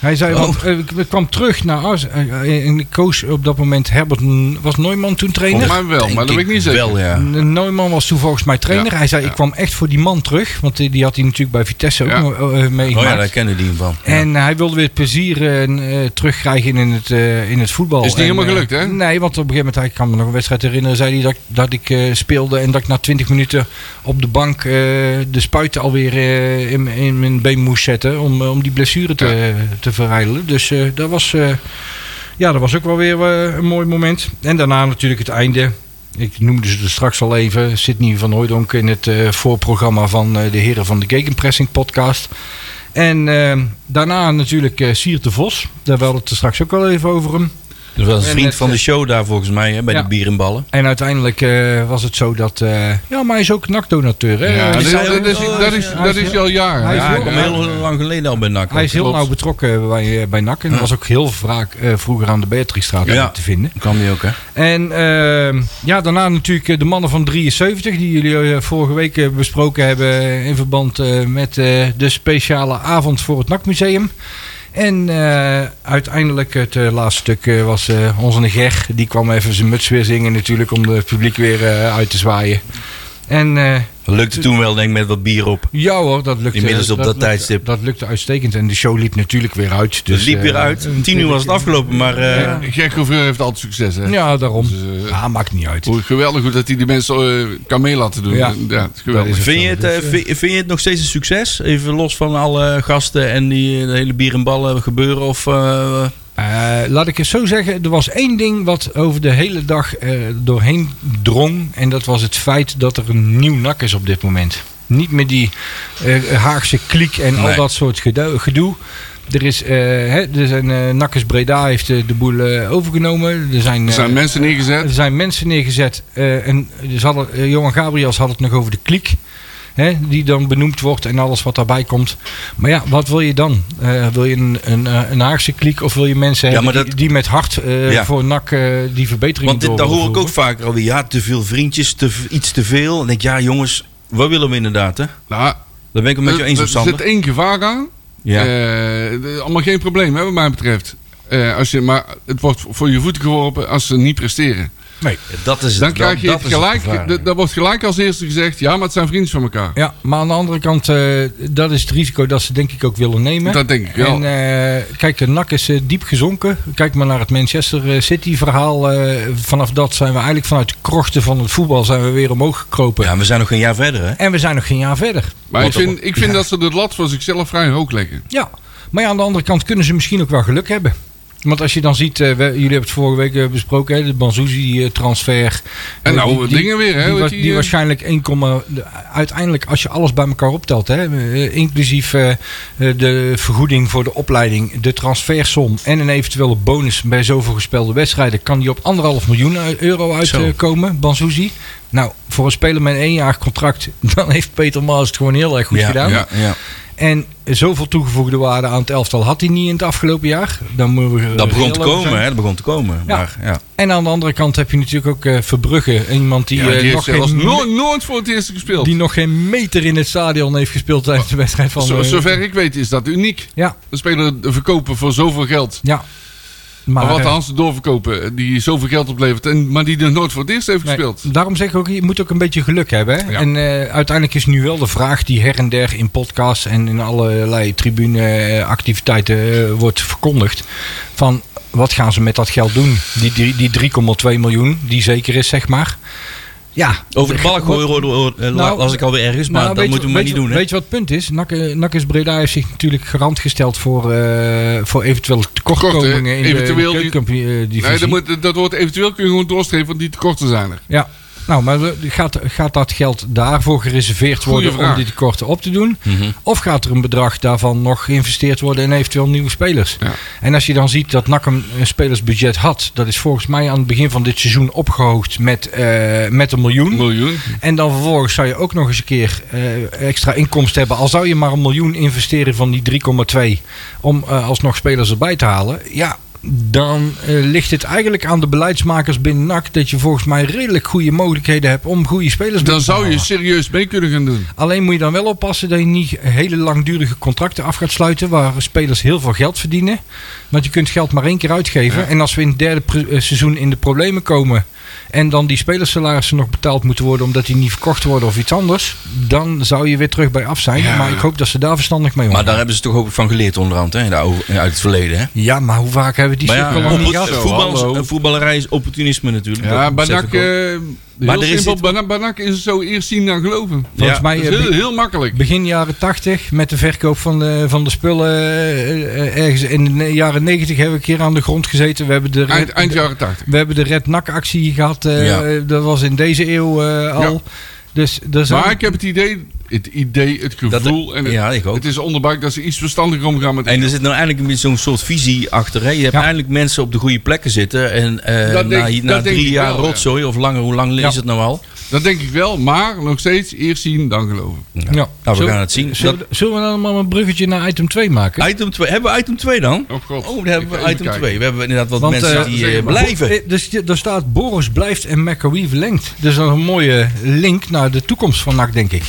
Speaker 3: Hij zei,
Speaker 2: Oh.
Speaker 3: want, eh, ik ik kwam terug naar Ars eh, eh, en ik koos op dat moment Herbert, N- was Neumann toen trainer?
Speaker 4: Volgens mij wel, maar dat weet ik niet zeker.
Speaker 2: Wel, ja.
Speaker 3: N- Neumann was toen volgens mij trainer.
Speaker 4: Ja,
Speaker 3: hij zei,
Speaker 4: ja.
Speaker 3: ik kwam echt voor die man terug, want die, die had hij natuurlijk bij Vitesse ook
Speaker 4: Ja.
Speaker 3: nog, eh, eh,
Speaker 2: Oh
Speaker 3: meegemaakt.
Speaker 2: ja, daar kennen die hem van. Ja.
Speaker 3: En hij wilde weer plezier eh, en, eh, terugkrijgen in het, eh, in het voetbal.
Speaker 4: Is niet
Speaker 3: En,
Speaker 4: helemaal
Speaker 3: eh,
Speaker 4: gelukt, hè?
Speaker 3: Nee, want op een gegeven moment, ik kan me nog een wedstrijd herinneren, zei hij dat, dat ik eh, speelde en dat ik na 20 minuten op de bank eh, de spuiten alweer eh, in, in mijn been moest zetten om, eh, om die blessure te, te verrijdelen. Dus eh, dat, was, eh, ja, dat was ook wel weer eh, een mooi moment. En daarna natuurlijk het einde. Ik noemde ze er straks al even. Sidney van Hooydonk in het eh, voorprogramma van eh, de heren van de Gegenpressing podcast. En eh, daarna natuurlijk eh Siert de Vos. Daar hadden we het er straks ook al even over hem.
Speaker 2: Dat was een
Speaker 3: En
Speaker 2: vriend
Speaker 3: het,
Speaker 2: van de
Speaker 3: eh,
Speaker 2: show daar volgens mij, hè, bij
Speaker 3: Ja.
Speaker 2: de bierenballen.
Speaker 3: En uiteindelijk eh, was het zo dat... eh, ja, maar hij is ook NAC-donateur. hè?
Speaker 4: Ja,
Speaker 3: Hij
Speaker 4: dat
Speaker 3: is-
Speaker 4: is-
Speaker 2: zei
Speaker 4: dat
Speaker 2: ook-
Speaker 4: is-
Speaker 2: oh,
Speaker 4: dat is-
Speaker 3: hij
Speaker 4: dat
Speaker 3: is
Speaker 4: is
Speaker 3: heel-
Speaker 4: al jaren.
Speaker 3: hij is
Speaker 2: Ja,
Speaker 3: heel-
Speaker 2: ik kom heel lang geleden al bij NAC.
Speaker 3: hij is heel
Speaker 2: Klopt.
Speaker 3: nauw betrokken bij, eh, bij NAC. En
Speaker 2: Ja.
Speaker 3: was ook heel vaak eh, vroeger aan de Beatrixstraat
Speaker 2: Ja.
Speaker 3: te vinden.
Speaker 2: Kan die ook, hè?
Speaker 3: En ehm, ja, daarna natuurlijk eh, de mannen van 73, die jullie eh, vorige week eh, besproken hebben in verband eh, met eh, de speciale avond voor het NAC-museum. En eh, uiteindelijk het eh, laatste stuk eh, was eh, onze Ger. Die kwam even zijn muts weer zingen natuurlijk om het publiek weer eh, uit te zwaaien. En eh,
Speaker 2: Dat lukte toen wel, denk ik, met wat bier op.
Speaker 3: Ja hoor, dat lukte.
Speaker 2: Inmiddels op dat
Speaker 3: lukte-
Speaker 2: tijdstip.
Speaker 3: Dat lukte uitstekend. En de show liep natuurlijk weer uit.
Speaker 2: Dus
Speaker 3: Dus,
Speaker 2: liep weer
Speaker 3: eh,
Speaker 2: uit. Tien uur was het afgelopen, maar... eh,
Speaker 4: Gek hoeveel heeft altijd succes, hè?
Speaker 3: Ja, daarom.
Speaker 4: Dus, eh,
Speaker 3: ah, maakt niet uit.
Speaker 4: Hoe geweldig hoe dat hij die mensen eh, kan mee laten doen.
Speaker 3: Ja.
Speaker 4: Ja, het is geweldig.
Speaker 3: Dat is
Speaker 2: Vind je, het, eh, vind, vind je het nog steeds een succes? Even los van alle gasten en die eh, de hele bier en ballen gebeuren? Of, eh,
Speaker 3: Eh, laat ik het zo zeggen. Er was één ding wat over de hele dag eh, doorheen drong. En dat was het feit dat er een nieuw nak is op dit moment. Niet meer die eh, Haagse kliek en al
Speaker 2: Nee.
Speaker 3: dat soort gedoe. gedoe. Er is, eh hè, er zijn, eh, Nakkers Breda heeft eh, de boel eh, overgenomen. Er zijn,
Speaker 4: Er zijn
Speaker 3: eh,
Speaker 4: mensen neergezet.
Speaker 3: Er zijn mensen neergezet. eh, en ze hadden, eh, Johan Gabriels had het nog over de kliek. Hè, die dan benoemd wordt en alles wat daarbij komt. Maar ja, wat wil je dan? Eh, wil je een, een, eh, een Haagse kliek of wil je mensen
Speaker 2: Ja,
Speaker 3: hebben
Speaker 2: maar
Speaker 3: die,
Speaker 2: dat-
Speaker 3: die met hart eh,
Speaker 2: Ja.
Speaker 3: voor NAC eh, die verbetering
Speaker 2: want dit,
Speaker 3: door
Speaker 2: daar
Speaker 3: willen
Speaker 2: hoor ik ook
Speaker 3: voeren?
Speaker 2: vaker alweer. Ja, te veel vriendjes, te, v- iets te veel. En ik denk, ja jongens, wat willen we inderdaad? Hè?
Speaker 4: Nou,
Speaker 2: Daar ben ik het met jou eens op,
Speaker 4: er zit
Speaker 2: Sander.
Speaker 4: één gevaar aan.
Speaker 2: Ja.
Speaker 4: Eh, d- allemaal geen probleem, hè, wat mij betreft. Eh, als je, maar het wordt voor je voeten geworpen als ze niet presteren.
Speaker 2: dat is het.
Speaker 4: Dan krijg je
Speaker 2: dat
Speaker 4: het
Speaker 2: is het
Speaker 4: gelijk,
Speaker 2: gevaar.
Speaker 4: d- dat wordt gelijk als eerste gezegd, ja, maar het zijn vrienden van elkaar.
Speaker 3: Ja, maar aan de andere kant, eh, dat is het risico dat ze denk ik ook willen nemen.
Speaker 4: Dat denk ik wel.
Speaker 3: En eh, kijk, de NAC is eh, diep gezonken. Kijk maar naar het Manchester eh, City verhaal. eh, vanaf dat zijn we eigenlijk vanuit de krochten van het voetbal zijn we weer omhoog gekropen.
Speaker 2: Ja, we zijn nog een jaar verder, hè?
Speaker 3: En we zijn nog geen jaar verder.
Speaker 4: maar ik
Speaker 2: Wat-
Speaker 4: vind, ik vind dat ze de lat voor zichzelf vrij hoog leggen.
Speaker 3: Ja, maar ja, aan de andere kant kunnen ze misschien ook wel geluk hebben. Want als je dan ziet, eh, we- jullie hebben het vorige week eh, besproken, hè, de Banzuzi-transfer.
Speaker 4: En nou, dingen weer, hè,
Speaker 3: Eh, Die,
Speaker 4: wat
Speaker 3: wa-
Speaker 4: die,
Speaker 3: die
Speaker 4: eh,
Speaker 3: waarschijnlijk 1, de- uiteindelijk als je alles bij elkaar optelt, hè, eh, inclusief eh, eh, de vergoeding voor de opleiding, de transfersom en een eventuele bonus bij zoveel gespeelde wedstrijden, kan die op anderhalf miljoen u- euro
Speaker 2: Zo.
Speaker 3: uitkomen, Banzuzi. Nou, voor een speler met een éénjarig contract, dan heeft Peter Maas het gewoon heel erg goed
Speaker 2: Ja,
Speaker 3: gedaan.
Speaker 4: ja.
Speaker 2: Ja.
Speaker 3: En zoveel toegevoegde waarde aan het elftal had hij niet in het afgelopen jaar. Dan moeten we
Speaker 2: Dat begon te
Speaker 3: reëel over zijn.
Speaker 2: komen, hè? Dat begon te komen.
Speaker 3: Ja.
Speaker 2: Maar, ja.
Speaker 3: En aan de andere kant heb je natuurlijk ook eh, Verbrugge. Iemand die,
Speaker 4: Ja, die
Speaker 3: eh,
Speaker 4: heeft
Speaker 3: nog
Speaker 4: zelfs
Speaker 3: geen,
Speaker 4: nooit, nooit voor het eerst gespeeld.
Speaker 3: die nog geen meter in het stadion heeft gespeeld tijdens de wedstrijd van...
Speaker 4: Oh. Zo-
Speaker 3: eh,
Speaker 4: zover ik weet is dat uniek.
Speaker 3: Ja,
Speaker 4: Een speler verkopen voor zoveel geld.
Speaker 3: ja.
Speaker 4: Maar wat
Speaker 3: eh,
Speaker 4: de Hansen doorverkopen, eh, die zoveel geld oplevert, en, maar die nog nooit voor het eerst heeft
Speaker 3: nee,
Speaker 4: gespeeld.
Speaker 3: daarom zeg ik ook, je moet ook een beetje geluk hebben. Hè?
Speaker 4: Ja.
Speaker 3: En eh, uiteindelijk is nu wel de vraag die her en der in podcasts en in allerlei tribuneactiviteiten eh, wordt verkondigd. Van wat gaan ze met dat geld doen? Die, die, die 3,2 miljoen, die zeker is, zeg maar. Ja,
Speaker 2: Over de balk gooien hoor, hoor, eh, la-
Speaker 3: Nou,
Speaker 2: las ik alweer ergens, maar
Speaker 3: Nou,
Speaker 2: dat
Speaker 3: weet je-
Speaker 2: moeten we maar
Speaker 3: weet
Speaker 2: niet
Speaker 3: je-
Speaker 2: doen, hè?
Speaker 3: Weet je wat het punt is? NAC, eh, NAC is Breda heeft zich natuurlijk garant gesteld voor, eh, voor eventuele tekortkomingen
Speaker 4: Tekorten,
Speaker 3: in
Speaker 4: eventueel
Speaker 3: de eh,
Speaker 4: die-
Speaker 3: keukenkampioen-divisie.
Speaker 4: Nee, dat, moet, dat wordt eventueel kun je gewoon doorstrepen, want die tekorten zijn er.
Speaker 3: Ja. Nou, maar we- gaat, gaat dat geld daarvoor gereserveerd
Speaker 4: Goeie
Speaker 3: worden om
Speaker 4: vraag.
Speaker 3: die tekorten op te doen? Of gaat er een bedrag daarvan nog geïnvesteerd worden in eventueel nieuwe spelers?
Speaker 4: Ja.
Speaker 3: En als je dan ziet dat NAC een, een spelersbudget had, dat is volgens mij aan het begin van dit seizoen opgehoogd met, eh, met een miljoen.
Speaker 4: Een miljoen.
Speaker 3: En dan vervolgens zou je ook nog eens een keer eh, extra inkomsten hebben. Al zou je maar een miljoen investeren van die 3,2 om eh, alsnog spelers erbij te halen. Ja, dan eh, ligt het eigenlijk aan de beleidsmakers binnen NAC dat je volgens mij redelijk goede mogelijkheden hebt om goede spelers binnen
Speaker 4: Dan
Speaker 3: te
Speaker 4: zou je
Speaker 3: halen.
Speaker 4: serieus mee kunnen gaan doen.
Speaker 3: Alleen moet je dan wel oppassen dat je niet hele langdurige contracten af gaat sluiten waar spelers heel veel geld verdienen. Want je kunt geld maar één keer uitgeven. En als we in het derde pre- eh, seizoen in de problemen komen en dan die spelersalarissen nog betaald moeten worden omdat die niet verkocht worden of iets anders, dan zou je weer terug bij af zijn.
Speaker 4: Ja.
Speaker 3: Maar ik hoop dat ze daar verstandig mee
Speaker 2: Maar
Speaker 3: omgaan.
Speaker 2: daar hebben ze toch ook van geleerd onderhand, hè? in de oude- Uit het verleden, hè?
Speaker 3: Ja, maar hoe vaak hebben we die
Speaker 2: Maar
Speaker 3: cirkel
Speaker 2: ja,
Speaker 3: al niet
Speaker 2: oppor-
Speaker 3: gehad?
Speaker 2: voetballers-
Speaker 4: hallo.
Speaker 2: eh, voetballerij is opportunisme natuurlijk.
Speaker 4: Ja,
Speaker 2: Dat besef
Speaker 4: Banak, eh,
Speaker 2: ik ook. Maar
Speaker 4: heel
Speaker 2: er is
Speaker 4: simpel,
Speaker 2: dit-
Speaker 4: Banak, Banak is zo eerst zien dan geloven.
Speaker 3: Volgens
Speaker 2: Ja.
Speaker 3: mij
Speaker 4: Dat is
Speaker 3: eh,
Speaker 4: heel,
Speaker 3: be-
Speaker 4: heel makkelijk.
Speaker 3: begin jaren 80 met de verkoop van de, van de spullen eh, eh, ergens in de ne- jaren 90 hebben we een keer aan de grond gezeten. We hebben de,
Speaker 4: Eind, eind
Speaker 3: de-
Speaker 4: jaren 80.
Speaker 3: We hebben de Red NAC actie gehad. eh,
Speaker 2: Ja.
Speaker 3: Dat was in deze eeuw eh, al.
Speaker 4: Ja.
Speaker 3: Dus er zijn-
Speaker 4: Maar ik heb het idee, het idee, het
Speaker 2: Dat-
Speaker 4: gevoel en het,
Speaker 2: ja, ik ook.
Speaker 4: het is onderbuik dat ze iets verstandiger omgaan met
Speaker 2: En er zit nou eigenlijk een beetje zo'n soort visie achter. Hè? Je hebt
Speaker 3: Ja.
Speaker 2: eindelijk mensen op de goede plekken zitten. En eh,
Speaker 4: Dat denk-
Speaker 2: na,
Speaker 4: dat
Speaker 2: na
Speaker 4: denk
Speaker 2: drie
Speaker 4: ik
Speaker 2: jaar
Speaker 4: wel, ja.
Speaker 2: rotzooi, of langer, hoe lang is
Speaker 3: Ja.
Speaker 2: het nou al?
Speaker 4: Dat denk ik wel, maar nog steeds eerst zien dan geloven.
Speaker 3: ja.
Speaker 2: Nou, we
Speaker 3: Zullen-
Speaker 2: gaan het zien.
Speaker 3: Zullen,
Speaker 2: Dat-
Speaker 3: we- zullen we dan maar een bruggetje naar item 2 maken?
Speaker 2: item 2. Hebben we item 2 dan?
Speaker 4: Oh god.
Speaker 2: Oh, dan hebben
Speaker 4: Ik
Speaker 2: we
Speaker 4: ga even
Speaker 2: item
Speaker 4: kijken.
Speaker 2: 2. We hebben inderdaad wat
Speaker 3: Want,
Speaker 2: mensen
Speaker 3: eh,
Speaker 2: die
Speaker 4: zeg
Speaker 2: eh,
Speaker 4: maar.
Speaker 2: blijven.
Speaker 3: Eh, Dus je- daar staat Boris blijft en McAwee verlengt. Dus dat is een mooie link naar de toekomst van NAC, denk ik.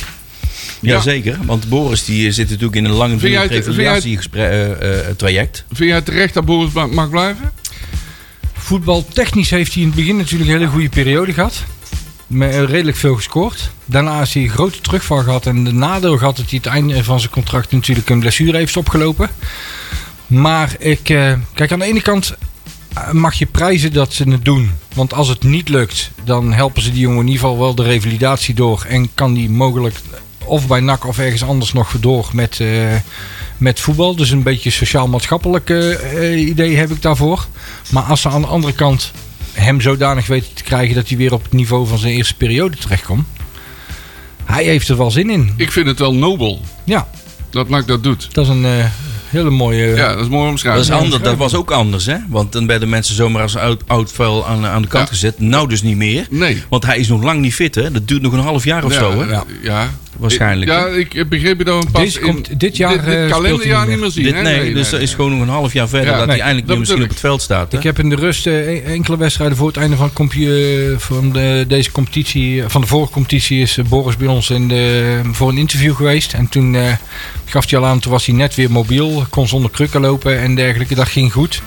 Speaker 2: Jazeker, want Boris die eh, zit natuurlijk in een lange eh,
Speaker 4: jij het-
Speaker 2: revalidatietraject.
Speaker 4: Vind jij terecht dat Boris ma- mag blijven?
Speaker 3: Voetbaltechnisch heeft hij in het begin natuurlijk een hele goede periode gehad. met, eh, redelijk veel gescoord. Daarna is hij een grote terugval gehad. En de nadeel gehad dat hij het einde van zijn contract natuurlijk een blessure heeft opgelopen. Maar ik, eh, kijk, aan de ene kant eh, mag je prijzen dat ze het doen. Want als het niet lukt, dan helpen ze die jongen in ieder geval wel de revalidatie door. En kan die mogelijk of bij NAC of ergens anders nog door met, eh, met voetbal. Dus een beetje sociaal-maatschappelijk eh, eh, idee heb ik daarvoor. Maar als ze aan de andere kant hem zodanig weten te krijgen dat hij weer op het niveau van zijn eerste periode terechtkomt. Hij heeft er wel zin in.
Speaker 4: Ik vind het wel nobel
Speaker 3: Ja,
Speaker 4: dat NAC dat doet.
Speaker 3: dat is een eh, hele mooie...
Speaker 4: Ja, dat is mooi omschrijven.
Speaker 2: Dat, is anders, dat was ook anders, hè? Want dan werden mensen zomaar als oud, oud vuil aan, aan de kant
Speaker 4: Ja.
Speaker 2: gezet. Nou, dus niet meer.
Speaker 4: Nee.
Speaker 2: Want hij is nog lang niet fit, hè? Dat duurt nog een half jaar of zo, hè?
Speaker 4: Ja, ja.
Speaker 2: Waarschijnlijk.
Speaker 4: Ja, ik heb begrepen dat we hem pas
Speaker 3: Deze
Speaker 4: in
Speaker 3: komt dit jaar, eh,
Speaker 4: dit,
Speaker 3: speelt hij
Speaker 4: kalenderjaar niet
Speaker 3: niet meer.
Speaker 4: meer zien.
Speaker 2: Dit,
Speaker 4: hè?
Speaker 2: nee, dus er is gewoon nog een half jaar verder
Speaker 4: Ja,
Speaker 2: dat
Speaker 4: nee,
Speaker 2: hij eindelijk
Speaker 4: dat
Speaker 2: weer misschien op
Speaker 4: bedoel
Speaker 2: het veld staat. Hè?
Speaker 3: Ik heb in de rust eh, enkele wedstrijden voor het einde van, het compu- eh, van de, deze competitie, eh, van de vorige competitie, is eh, Boris bij ons in de, eh, voor een interview geweest. En toen eh, gaf hij al aan, toen was hij net weer mobiel, kon zonder krukken lopen en dergelijke. Dat ging goed.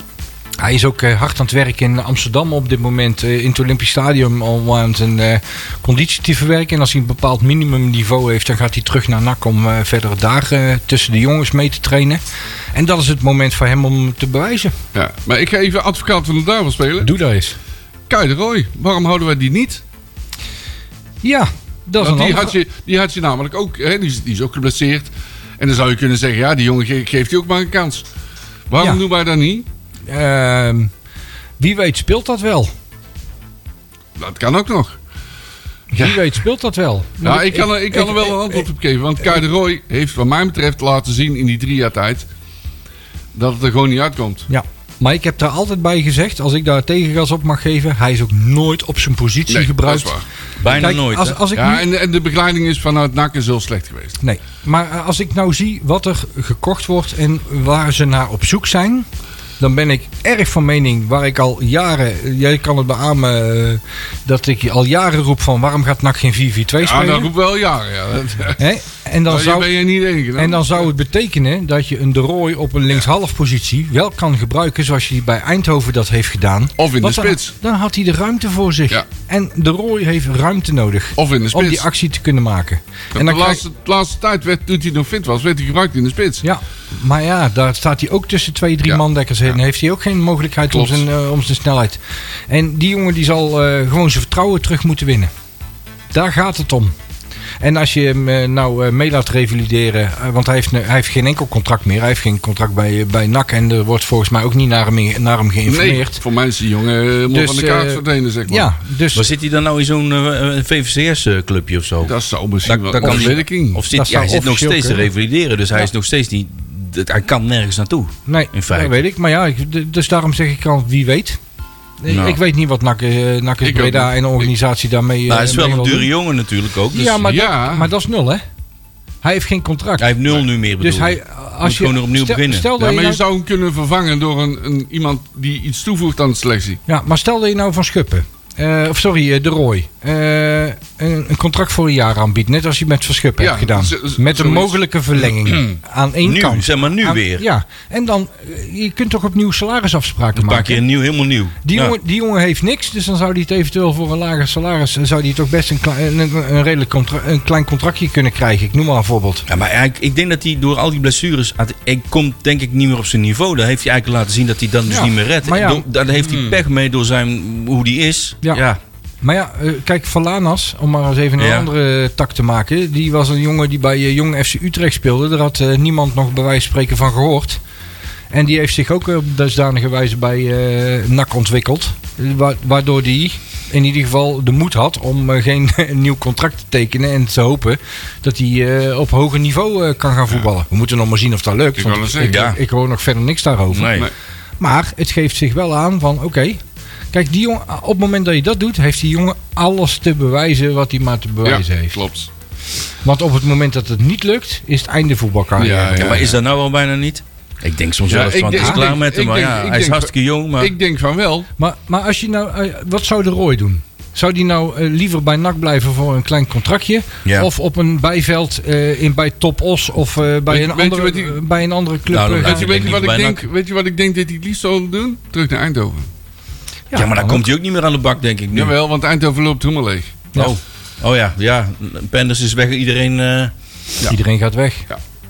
Speaker 3: Hij is ook eh, hard aan het werk in Amsterdam op dit moment, eh, in het Olympisch Stadion, om aan zijn eh, conditie te verwerken. En als hij een bepaald minimumniveau heeft, dan gaat hij terug naar NAC om eh, verdere dagen eh, tussen de jongens mee te trainen. En dat is het moment voor hem om te bewijzen.
Speaker 2: eh,
Speaker 4: Ja, maar ik ga even advocaat van de duivel spelen.
Speaker 3: Doe dat eens.
Speaker 4: Kai de Roy, waarom houden wij die niet?
Speaker 3: Ja, dat
Speaker 4: Want
Speaker 3: is een
Speaker 4: die,
Speaker 3: andere-
Speaker 4: had je, die had je namelijk ook, hè, die, is, die is ook geblesseerd. En dan zou je kunnen zeggen, ja, die jongen ge- geeft hij ook maar een kans. Waarom
Speaker 3: Ja.
Speaker 4: doen wij dat niet?
Speaker 3: Ehm, wie weet speelt dat wel.
Speaker 4: Dat kan ook nog.
Speaker 3: Wie weet speelt dat wel.
Speaker 4: Ja, ik kan, er- ik kan er wel een antwoord op geven. Want Kai de Roy heeft wat mij betreft laten zien in die drie jaar tijd... dat het er gewoon niet uitkomt.
Speaker 3: Ja, maar ik heb daar altijd bij gezegd, als ik daar tegengas op mag geven, hij is ook nooit op zijn positie
Speaker 4: Nee,
Speaker 3: gebruikt.
Speaker 4: dat is waar.
Speaker 2: Bijna
Speaker 3: Kijk,
Speaker 2: nooit.
Speaker 3: Als,
Speaker 2: hè?
Speaker 3: als ik
Speaker 4: Ja,
Speaker 3: nu-
Speaker 4: en, en de begeleiding is vanuit NAC is heel slecht geweest.
Speaker 3: Nee, maar eh, als ik nou zie wat er gekocht wordt en waar ze naar op zoek zijn, dan ben ik erg van mening waar ik al jaren, jij kan het beamen, eh, dat ik al jaren roep van waarom gaat NAC geen 4-4-2
Speaker 4: Ja,
Speaker 3: spelen?
Speaker 4: dat roept wel jaren. Ja. Dat-
Speaker 3: Hè? En dan
Speaker 4: Daar
Speaker 3: zou...
Speaker 4: ben je niet de enige.
Speaker 3: En dan zou het betekenen dat je een De Roy op een linkshalfpositie wel kan gebruiken zoals je die bij Eindhoven dat heeft gedaan.
Speaker 4: Of in de
Speaker 3: Want dan-
Speaker 4: spits.
Speaker 3: Dan, had hij de ruimte voor zich.
Speaker 4: Ja.
Speaker 3: En De Roy heeft ruimte nodig
Speaker 4: Of in de
Speaker 3: om
Speaker 4: spits.
Speaker 3: die actie te kunnen maken.
Speaker 4: Dat
Speaker 3: en dan
Speaker 4: de,
Speaker 3: krijg-
Speaker 4: laatste, de laatste tijd, werd, toen hij nog fit was, werd hij gebruikt in de spits.
Speaker 3: ja, maar ja, daar staat hij ook tussen twee, drie
Speaker 4: Ja.
Speaker 3: mandekkers heen. Heeft hij ook geen mogelijkheid om
Speaker 4: Klopt.
Speaker 3: zijn, eh, om zijn snelheid. En die jongen die zal eh, gewoon zijn vertrouwen terug moeten winnen. Daar gaat het om. En als je hem eh, nou eh, mee laat revalideren, eh, want hij heeft, ne- hij heeft geen enkel contract meer. Hij heeft geen contract bij, eh, bij NAC en er wordt volgens mij ook niet naar hem, in- naar hem
Speaker 4: nee,
Speaker 3: geïnformeerd.
Speaker 4: voor mij is die jongen helemaal
Speaker 3: Dus,
Speaker 4: van de kaart
Speaker 3: eh,
Speaker 4: verdwenen, zeg maar.
Speaker 3: Ja, dus
Speaker 2: Maar zit hij dan nou in zo'n VVCS-clubje eh, of zo?
Speaker 4: Dat zou misschien wel...
Speaker 2: dat
Speaker 4: of weet ik niet.
Speaker 2: Of zit,
Speaker 3: Dat
Speaker 2: ja, hij
Speaker 3: zou
Speaker 2: zit nog
Speaker 3: officieel
Speaker 2: steeds te
Speaker 3: kunnen.
Speaker 2: revalideren, dus hij is nog steeds niet... dat- Hij kan nergens naartoe.
Speaker 3: nee,
Speaker 2: in feite.
Speaker 3: dat weet ik. Maar ja, ik- d- dus daarom zeg ik al, wie weet. Ik-
Speaker 2: Nou.
Speaker 3: Ik weet niet wat NAC, eh, NAC is
Speaker 4: Ik ook
Speaker 3: Breda
Speaker 4: niet.
Speaker 3: en de organisatie daarmee... eh,
Speaker 2: nou, hij is wel
Speaker 3: mee
Speaker 2: een
Speaker 3: wil doen.
Speaker 2: dure jongen natuurlijk ook. Dus
Speaker 3: ja, maar,
Speaker 4: ja.
Speaker 3: Dat, maar dat is nul, hè? Hij heeft geen contract.
Speaker 2: Hij heeft nul nu meer bedoeld.
Speaker 3: dus hij,
Speaker 2: Moet
Speaker 3: als je,
Speaker 2: gewoon weer opnieuw
Speaker 3: stel-
Speaker 2: beginnen.
Speaker 3: Stel dat
Speaker 4: Ja,
Speaker 3: je
Speaker 4: maar je
Speaker 3: nou-
Speaker 4: zou hem kunnen vervangen door een, een, iemand die iets toevoegt aan de selectie.
Speaker 3: ja, maar stel dat je nou van Schuppen, eh, of sorry, eh, de Roy, eh, een, een contract voor een jaar aanbiedt. Net als je met Van Schuppen
Speaker 4: Ja,
Speaker 3: hebt gedaan.
Speaker 4: z- z-
Speaker 3: met een
Speaker 4: zoiets.
Speaker 3: mogelijke verlenging aan één
Speaker 2: nu,
Speaker 3: kant.
Speaker 2: zeg maar nu
Speaker 3: Aan-
Speaker 2: weer.
Speaker 3: Ja, en dan, eh, je kunt toch opnieuw salarisafspraken
Speaker 2: een paar
Speaker 3: maken.
Speaker 2: keer nieuw, helemaal nieuw.
Speaker 3: Die,
Speaker 2: Ja.
Speaker 3: jongen, die jongen heeft niks, dus dan zou hij het eventueel voor een lager salaris, eh, zou hij toch best een, klein- een, een redelijk contra- een klein contractje kunnen krijgen. Ik noem maar een voorbeeld.
Speaker 2: Ja, maar eigenlijk, ik denk dat hij door al die blessures... had- Hij komt denk ik niet meer op zijn niveau. Daar heeft hij eigenlijk laten zien dat hij dan dus
Speaker 3: Ja,
Speaker 2: niet meer redt.
Speaker 3: maar ja.
Speaker 2: Door- daar heeft
Speaker 4: Hmm.
Speaker 2: hij pech mee door zijn, hoe hij is.
Speaker 3: Ja. Maar ja, eh, kijk, Valanas, om maar eens even een
Speaker 2: Ja.
Speaker 3: andere eh, tak te maken. Die was een jongen die bij eh, Jong FC Utrecht speelde. Daar had eh, niemand nog bij wijze van spreken van gehoord. En die heeft zich ook eh, op dusdanige wijze bij eh, NAC ontwikkeld. Eh, wa- Waardoor die in ieder geval de moed had om eh, geen nieuw contract te tekenen. En te hopen dat hij eh, op hoger niveau eh, kan gaan voetballen. We moeten nog maar zien of dat lukt.
Speaker 4: Ik
Speaker 3: want
Speaker 4: wou dat zeggen,
Speaker 3: ik,
Speaker 2: ja.
Speaker 3: ik hoor nog verder niks daarover.
Speaker 2: Nee.
Speaker 4: Nee.
Speaker 3: Maar het geeft zich wel aan van oké. Kijk, die jongen, op het moment dat je dat doet, heeft die jongen alles te bewijzen wat hij maar te bewijzen
Speaker 4: ja,
Speaker 3: heeft.
Speaker 4: klopt.
Speaker 3: Want op het moment dat het niet lukt, is het einde voetbalcarrière.
Speaker 4: Ja, ja.
Speaker 2: Ja, maar is dat nou al bijna niet? Ik denk soms
Speaker 4: Ja,
Speaker 2: wel eens
Speaker 4: ik
Speaker 2: van, het
Speaker 4: denk-
Speaker 2: is
Speaker 4: ik
Speaker 2: klaar
Speaker 4: denk-
Speaker 2: met hem.
Speaker 4: ik
Speaker 2: Maar
Speaker 4: denk-
Speaker 2: ja,
Speaker 4: ik
Speaker 2: hij is
Speaker 4: denk-
Speaker 2: hartstikke jong, maar...
Speaker 4: Ik denk van wel.
Speaker 3: Maar, maar als je nou, eh, wat zou de Roy doen? Zou die nou eh, liever bij NAC blijven voor een klein contractje?
Speaker 2: Ja.
Speaker 3: Of op een bijveld eh, in, bij Top Os of eh, bij,
Speaker 4: Weet-
Speaker 3: een
Speaker 4: weet je
Speaker 3: andere,
Speaker 4: wat die-
Speaker 3: eh, bij een andere club?
Speaker 2: Nou, dan
Speaker 3: eh,
Speaker 2: blijft
Speaker 4: Weet je,
Speaker 2: denk
Speaker 4: weet, je
Speaker 2: niet
Speaker 4: wat ik
Speaker 2: bij
Speaker 4: denk,
Speaker 2: NAC.
Speaker 4: weet je wat ik denk dat hij het liefst zou doen? Terug naar Eindhoven.
Speaker 2: ja, maar dan
Speaker 3: kan
Speaker 2: komt hij ook niet meer aan de bak, denk ik nu.
Speaker 4: Jawel, want Eindhoven loopt helemaal leeg.
Speaker 3: ook. Ja.
Speaker 2: Oh. oh ja, ja. Penders is weg. Iedereen. eh,
Speaker 4: Ja.
Speaker 3: Iedereen gaat weg.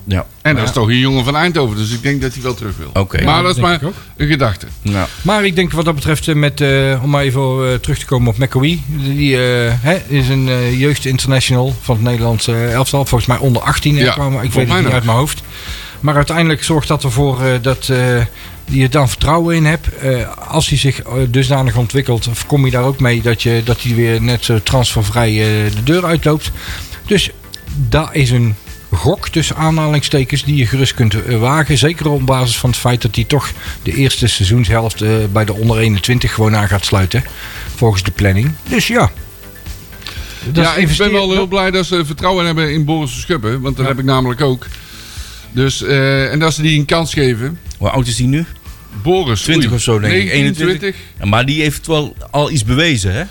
Speaker 2: ja,
Speaker 4: En dat is toch een jongen van Eindhoven, dus ik denk dat hij wel terug wil.
Speaker 2: oké.
Speaker 4: Maar dat is
Speaker 3: denk
Speaker 4: maar
Speaker 3: ik ook.
Speaker 4: een gedachte.
Speaker 2: Nou,
Speaker 3: Maar ik denk wat dat betreft, eh, met, eh, om maar even eh, terug te komen op McAwee. Die eh, hè, is een eh, jeugdinternational van het Nederlandse eh, elftal. Volgens mij onder 18
Speaker 4: Ja,
Speaker 3: ja, kwamen. Ik
Speaker 4: volgens
Speaker 3: weet
Speaker 4: mij
Speaker 3: het
Speaker 4: nog.
Speaker 3: niet uit mijn hoofd. Maar uiteindelijk zorgt dat ervoor eh, dat eh, je er dan vertrouwen in hebt. Eh, als hij zich eh, dusdanig ontwikkelt, of kom je daar ook mee dat hij dat hij weer net zo transfervrij eh, de deur uitloopt. Dus dat is een gok tussen aanhalingstekens die je gerust kunt eh, wagen. Zeker op basis van het feit dat hij toch de eerste seizoenshelft eh, bij de onder 21 gewoon aan gaat sluiten. Volgens de planning. Dus ja. Dat
Speaker 4: ja, ik ben
Speaker 3: investeren-
Speaker 4: wel heel blij dat ze vertrouwen hebben in Boris Verschuppen, want dat heb ik namelijk ook. Dus, eh, en dat ze die een kans geven.
Speaker 2: hoe oud is die nu?
Speaker 4: Boris.
Speaker 2: 20
Speaker 4: oei,
Speaker 2: of zo, denk ik.
Speaker 4: 21.
Speaker 2: Ja, maar die heeft wel al iets bewezen, hè?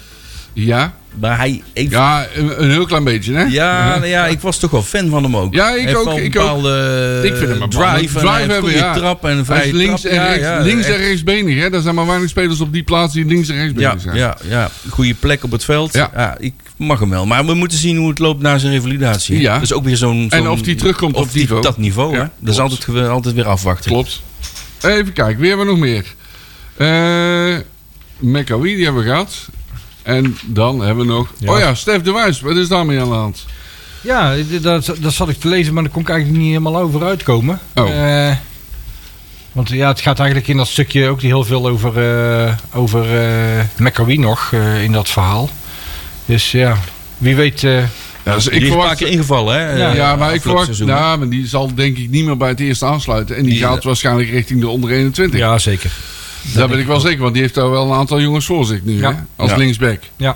Speaker 4: Ja,
Speaker 2: Maar hij. Ik, ja,
Speaker 4: ja een, een heel klein beetje, hè?
Speaker 2: nou ja, ik was toch wel fan van hem ook.
Speaker 4: Ja, ik
Speaker 2: Hij heeft
Speaker 4: ook,
Speaker 2: wel Een
Speaker 4: ik ook.
Speaker 2: bepaalde
Speaker 4: Ik vind hem een bepaalde
Speaker 2: eh,
Speaker 4: drive
Speaker 2: drive, en hij heeft
Speaker 4: hebben,
Speaker 2: goede
Speaker 4: ja.
Speaker 2: trap en een
Speaker 4: Hij
Speaker 2: vrije
Speaker 4: is links,
Speaker 2: trap.
Speaker 4: en,
Speaker 2: Ja,
Speaker 4: rechts,
Speaker 2: ja,
Speaker 4: links en
Speaker 2: echt.
Speaker 4: rechtsbenig, hè? Daar zijn maar weinig spelers op die plaats die links en rechtsbenig
Speaker 2: Ja,
Speaker 4: zijn.
Speaker 2: ja, ja, goede plek op het veld.
Speaker 4: Ja.
Speaker 2: Ja. ik mag hem wel. Maar we moeten zien hoe het loopt na zijn revalidatie.
Speaker 4: Ja.
Speaker 2: Dat is ook weer zo'n...
Speaker 4: En
Speaker 2: zo'n-
Speaker 4: of die terugkomt
Speaker 2: of
Speaker 4: op
Speaker 2: die-
Speaker 4: niveau.
Speaker 2: dat niveau.
Speaker 4: Ja,
Speaker 2: hè? Dat is
Speaker 4: klopt.
Speaker 2: altijd, ge- altijd weer afwachten.
Speaker 4: Klopt. Even kijken, weer hebben we nog meer. Eh McAwee, die hebben we gehad. En dan hebben we nog... Oh ja, Stef de Wijs, wat is daarmee aan de hand?
Speaker 3: Ja, d- dat, dat zat ik te lezen, maar daar kon ik eigenlijk niet helemaal over uitkomen.
Speaker 4: Oh.
Speaker 3: Eh, want ja, het gaat eigenlijk in dat stukje ook heel veel over, eh over eh, McAwee nog, eh, in dat verhaal. Dus ja, wie weet... eh,
Speaker 4: Ja, dus
Speaker 2: die
Speaker 4: ik
Speaker 2: is een paar
Speaker 4: verwacht...
Speaker 2: keer ingevallen, hè?
Speaker 3: Ja,
Speaker 2: eh,
Speaker 4: Ja, maar ik
Speaker 2: afgelopen
Speaker 4: verwacht... nou,
Speaker 2: seizoen.
Speaker 4: Ja, maar die zal denk ik niet meer bij het eerste aansluiten. En die,
Speaker 2: Die-
Speaker 4: gaat waarschijnlijk richting de onder 21.
Speaker 3: ja, zeker.
Speaker 4: Daar ben ik wel zeker, want die heeft daar wel een aantal jongens voor zich nu.
Speaker 3: Ja.
Speaker 4: Hè? Als
Speaker 2: Ja.
Speaker 4: linksback.
Speaker 2: Dat